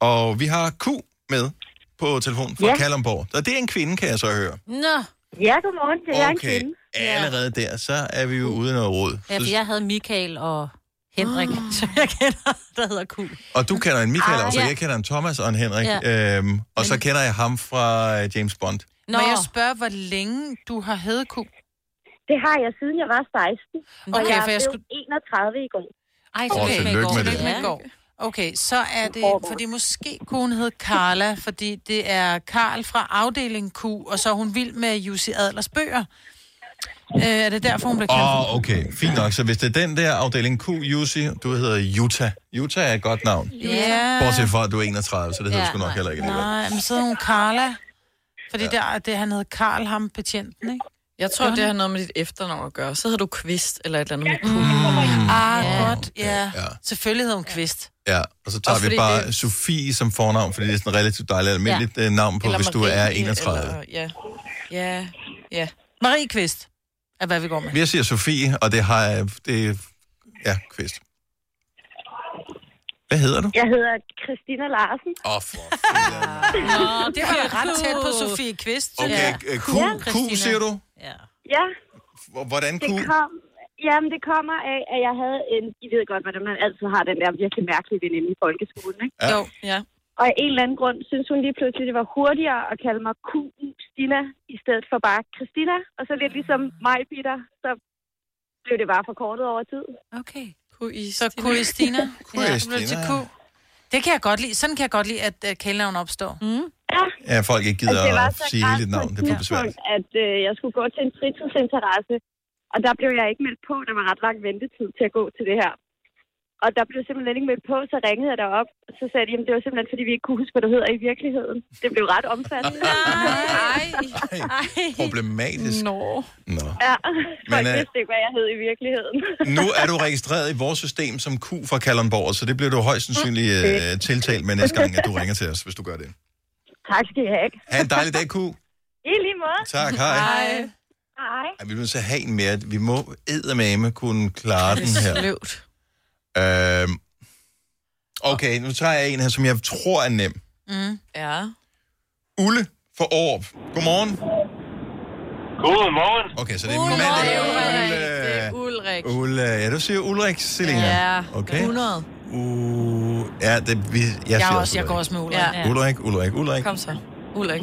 Og vi har Q med på telefonen fra Ja. ja. Kalundborg. Og det er en kvinde, kan jeg så høre. Nå. Ja, godmorgen. Det er en Okay, kvinde. allerede der, så er vi jo ude i noget råd. Ja, for jeg havde Michael og Henrik, Ah. som jeg kender, der hedder Q. Og du kender en Michael Ah. også, og Ja. jeg kender en Thomas og en Henrik. Ja. Ja. Øhm, og så kender jeg ham fra øh, James Bond. Nå. Må jeg spørge, hvor længe du har heddet Q? Det har jeg siden jeg var 16. og Okay, jeg for jeg blev 31 i går. Ej, Åh, tillykke med det. Tillykke med i går. Okay, så er det, fordi måske kunne hun hedde Carla, fordi det er Karl fra afdeling Q, og så er hun vild med Jussi Adlers bøger. Øh, er det derfor, hun blev kaldt? Åh, oh, okay. Fint nok. Så hvis det er den der afdeling Q, Jussi, du hedder Utah. Utah er et godt navn. Ja. Bortset fra, at du er 31, så det hedder Ja, ja, sgu nok heller ikke. alligevel. Nej, men så hedder hun Carla. Fordi ja. der, det, han hed Karl, ham betjenten, ikke? Jeg tror, Gør det har han? noget med dit efternavn at gøre. Så hedder du Kvist eller et eller andet. Med Mm. Ah, ja. godt, ja. ja. Selvfølgelig hed hun Kvist. Ja, og så tager Også vi fordi bare det- det... Sofie som fornavn, fordi det er sådan et relativt dejligt almindeligt ja. navn på, Eller hvis du Marie, er 31. Eller... Eller, ja. ja, ja. Marie Kvist er, hvad vi går med. Vi siger Sofie, og det har jeg... Det, er- ja, kvist. Hvad hedder du? Jeg hedder Christina Larsen. Åh, oh, for... Nå, det var ret tæt på Sofie Kvist. Okay, øh, Q, Q siger du? Ja, H- Hvordan det kunne... kom... Jamen, det kommer af, at jeg havde en... I ved godt, hvordan man altid har den der virkelig mærkelige veninde i folkeskolen, ikke? Ja. Jo, ja. Og af en eller anden grund synes hun lige pludselig, det var hurtigere at kalde mig QU Stina, i stedet for bare Christina. Og så lidt ligesom mig, Peter, så blev det bare forkortet over tid. Okay. Q-I Så Q-I Stina. Q-I så blev det til Stina. Q. Det kan jeg godt lide. Sådan kan jeg godt lide, at uh, kælenavn opstår. Mm. Ja, folk ikke gider Altså, det var at så sige grænt hele dit på et navn. Det er for besværligt. tidspunkt, At øh, jeg skulle gå til en fritidsinteresse, og der blev jeg ikke meldt på. Der var ret lang ventetid til at gå til det her. Og der blev simpelthen ikke meldt på, så ringede jeg derop, og så sagde de, at det var simpelthen, fordi vi ikke kunne huske, hvad du hedder i virkeligheden. Det blev ret omfattende. Nej, Problematisk. Nå. Nå. Ja, Men, folk øh, vidste ikke, hvad jeg hed i virkeligheden. Nu er du registreret i vores system som Q fra Kalundborg, så det bliver du højst sandsynligt øh, tiltalt med næste gang, at du ringer til os, hvis du gør det. tak skal I have. Ha' en dejlig dag, Q. I lige måde. Tak, hej. Hej. Hej. Ej, vi er nødt til at have en mere. Vi må eddermame kunne klare den Det er her. sløvt. Øhm, okay, nu tager jeg en her, som jeg tror er nem. Mm. Ja. Ulle for Aarup. Godmorgen. Godmorgen. Okay, så det er mandag. Ulrik. Ulle. Ja, du siger Ulrik, Selina. Ja, okay. 100. Uh, ja, det, vi, jeg, Jeg siger er også- jeg går også med Ulrik. Ja. Ulrik, Ulrik, Ulrik. Kom så. Ulrik.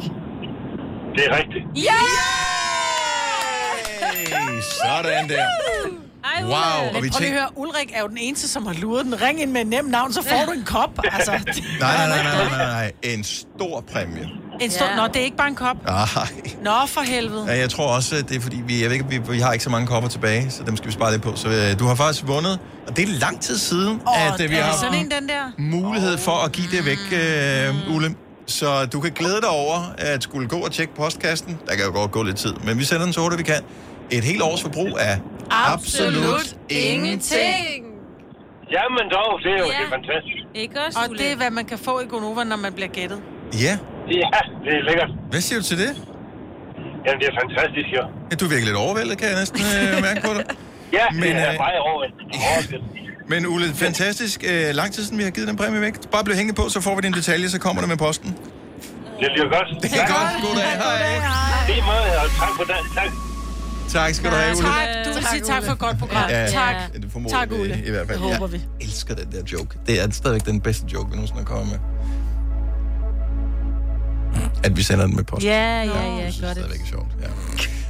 Det er rigtigt. Ja! Hey, sådan der. Ej, Wow, og Men vi prøv lige tænk- at høre, Ulrik er jo den eneste, som har luret den. Ring ind med et nemt navn, så får du en kop. Altså, Nej, nej, nej, nej, nej, nej. En stor præmie. en stor... Nå, det er ikke bare en kop. Nej. Nå, for helvede. Ja, jeg tror også, at det er fordi, vi, jeg ved ikke, vi, vi har ikke så mange kopper tilbage, så dem skal vi spare lidt på. Så øh, du har faktisk vundet, og det er lang tid siden, Åh, at øh, vi er har det sådan en, den der? mulighed for at give det væk, øh, Ulle. Så du kan glæde dig over at skulle gå og tjekke postkassen. Der kan jo godt gå lidt tid, men vi sender den så hurtigt, vi kan. Et helt års forbrug af absolut ingenting. Jamen dog, det er jo Ja. det er fantastisk. Ikke også, Og det er, hvad man kan få i Gonova, når man bliver gættet. Ja. Ja, det er lækkert. Hvad siger du til det? Jamen, det er fantastisk, jo. Ja, du er virkelig lidt overvældet, kan jeg næsten øh, mærke på dig. Ja, Men, det er øh, meget overvældet. Men Ulle, fantastisk. Øh, lang tid siden, vi har givet den præmie væk. Bare bliv hængende på, så får vi din detalje, så kommer det med posten. Det lyder godt. Det er godt. God dag. Hej. Det er meget, og tak for det. Tak. Tak skal du have, Ulle. Tak, du vil sige tak for et godt program. Ja, Tak. ja, det formoder Tak, vi Ulle. I hvert fald. Det håber vi. Jeg elsker den der joke. Det er stadigvæk den bedste joke, vi nogensinde har kommet med. At vi sender den med posten. Ja, ja, ja, godt. Det er stadigvæk sjovt, ja.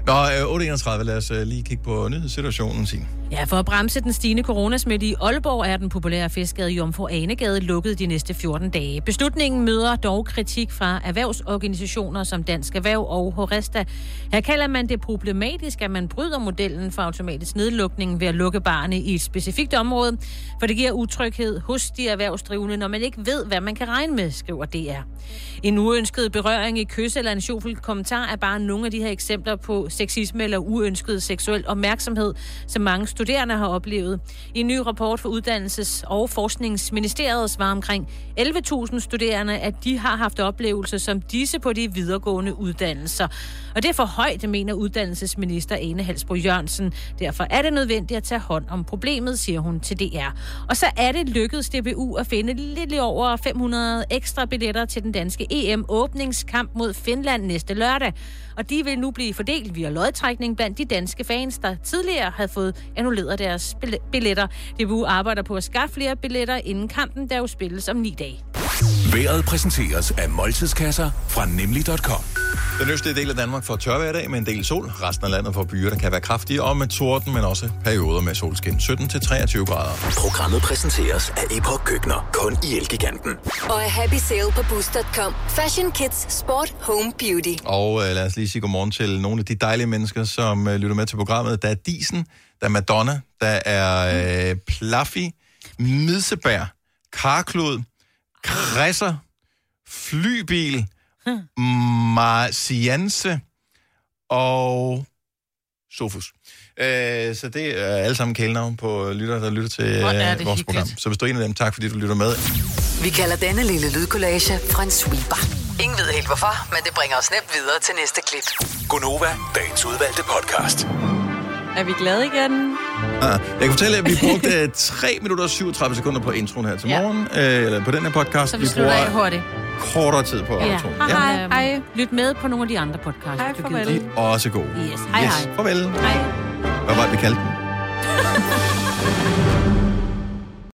Nå, øh, 8.31, lad os øh, lige kigge på nyhedssituationen, Signe. Ja, for at bremse den stigende coronasmitte i Aalborg er den populære fiskegade Jomfru Anegade lukket de næste 14 dage. Beslutningen møder dog kritik fra erhvervsorganisationer som Dansk Erhverv og Horesta. Her kalder man det problematisk, at man bryder modellen for automatisk nedlukning ved at lukke barne i et specifikt område, for det giver utryghed hos de erhvervsdrivende, når man ikke ved, hvad man kan regne med, skriver DR. En uønsket berøring i kys eller en sjofel kommentar er bare nogle af de her eksempler på sexisme eller uønsket seksuel opmærksomhed, som mange studerende har oplevet. I en ny rapport fra Uddannelses- og Forskningsministeriet var omkring 11.000 studerende, at de har haft oplevelser som disse på de videregående uddannelser. Og det er for højt, mener uddannelsesminister Ane Halsbro Jørgensen. Derfor er det nødvendigt at tage hånd om problemet, siger hun til DR. Og så er det lykkedes DBU at finde lidt over 500 ekstra billetter til den danske EM-åbningskamp mod Finland næste lørdag. Og de vil nu blive fordelt via lodtrækning blandt de danske fans, der tidligere havde fået annulleret deres bille- billetter. DBU arbejder på at skaffe flere billetter inden kampen, der jo spilles om ni dage. Været præsenteres af måltidskasser fra nemlig.com. Den østlige del af Danmark får tørvejr i dag med en del sol. Resten af landet får byer, der kan være kraftige og med torden, men også perioder med solskin. 17-23 grader. Programmet præsenteres af Epoch Køkkener, kun i Elgiganten. Og er happy sale på Boost.com. Fashion, kids, sport, home, beauty. Og øh, lad os lige sige godmorgen til nogle af de dejlige mennesker, som øh, lytter med til programmet. Der er Disen, der er Madonna, der er øh, Plaffy, Midsebær, Karklud, Kresser, Flybil, Marcianse og Sofus. Øh, så det er alle sammen kælenavn på lytter, der lytter til øh, Hvor vores er det hyggeligt. program. Så hvis du er en af dem, tak fordi du lytter med. Vi kalder denne lille lydkollage en sweeper. Ingen ved helt hvorfor, men det bringer os nemt videre til næste klip. Gonova, dagens udvalgte podcast. Er vi glade igen? Ah, jeg kan fortælle, at vi brugte 3 minutter og 37 sekunder på introen her til morgen, øh, eller på den her podcast. Så vi slutter af hurtigt. kortere tid på Ja. introen. Hej, hej. Lyt med på nogle af de andre podcasts. Hej, De er også gode. Yes. Hej, yes. hej. Farvel. Hej. Hvad var det, vi kaldte den?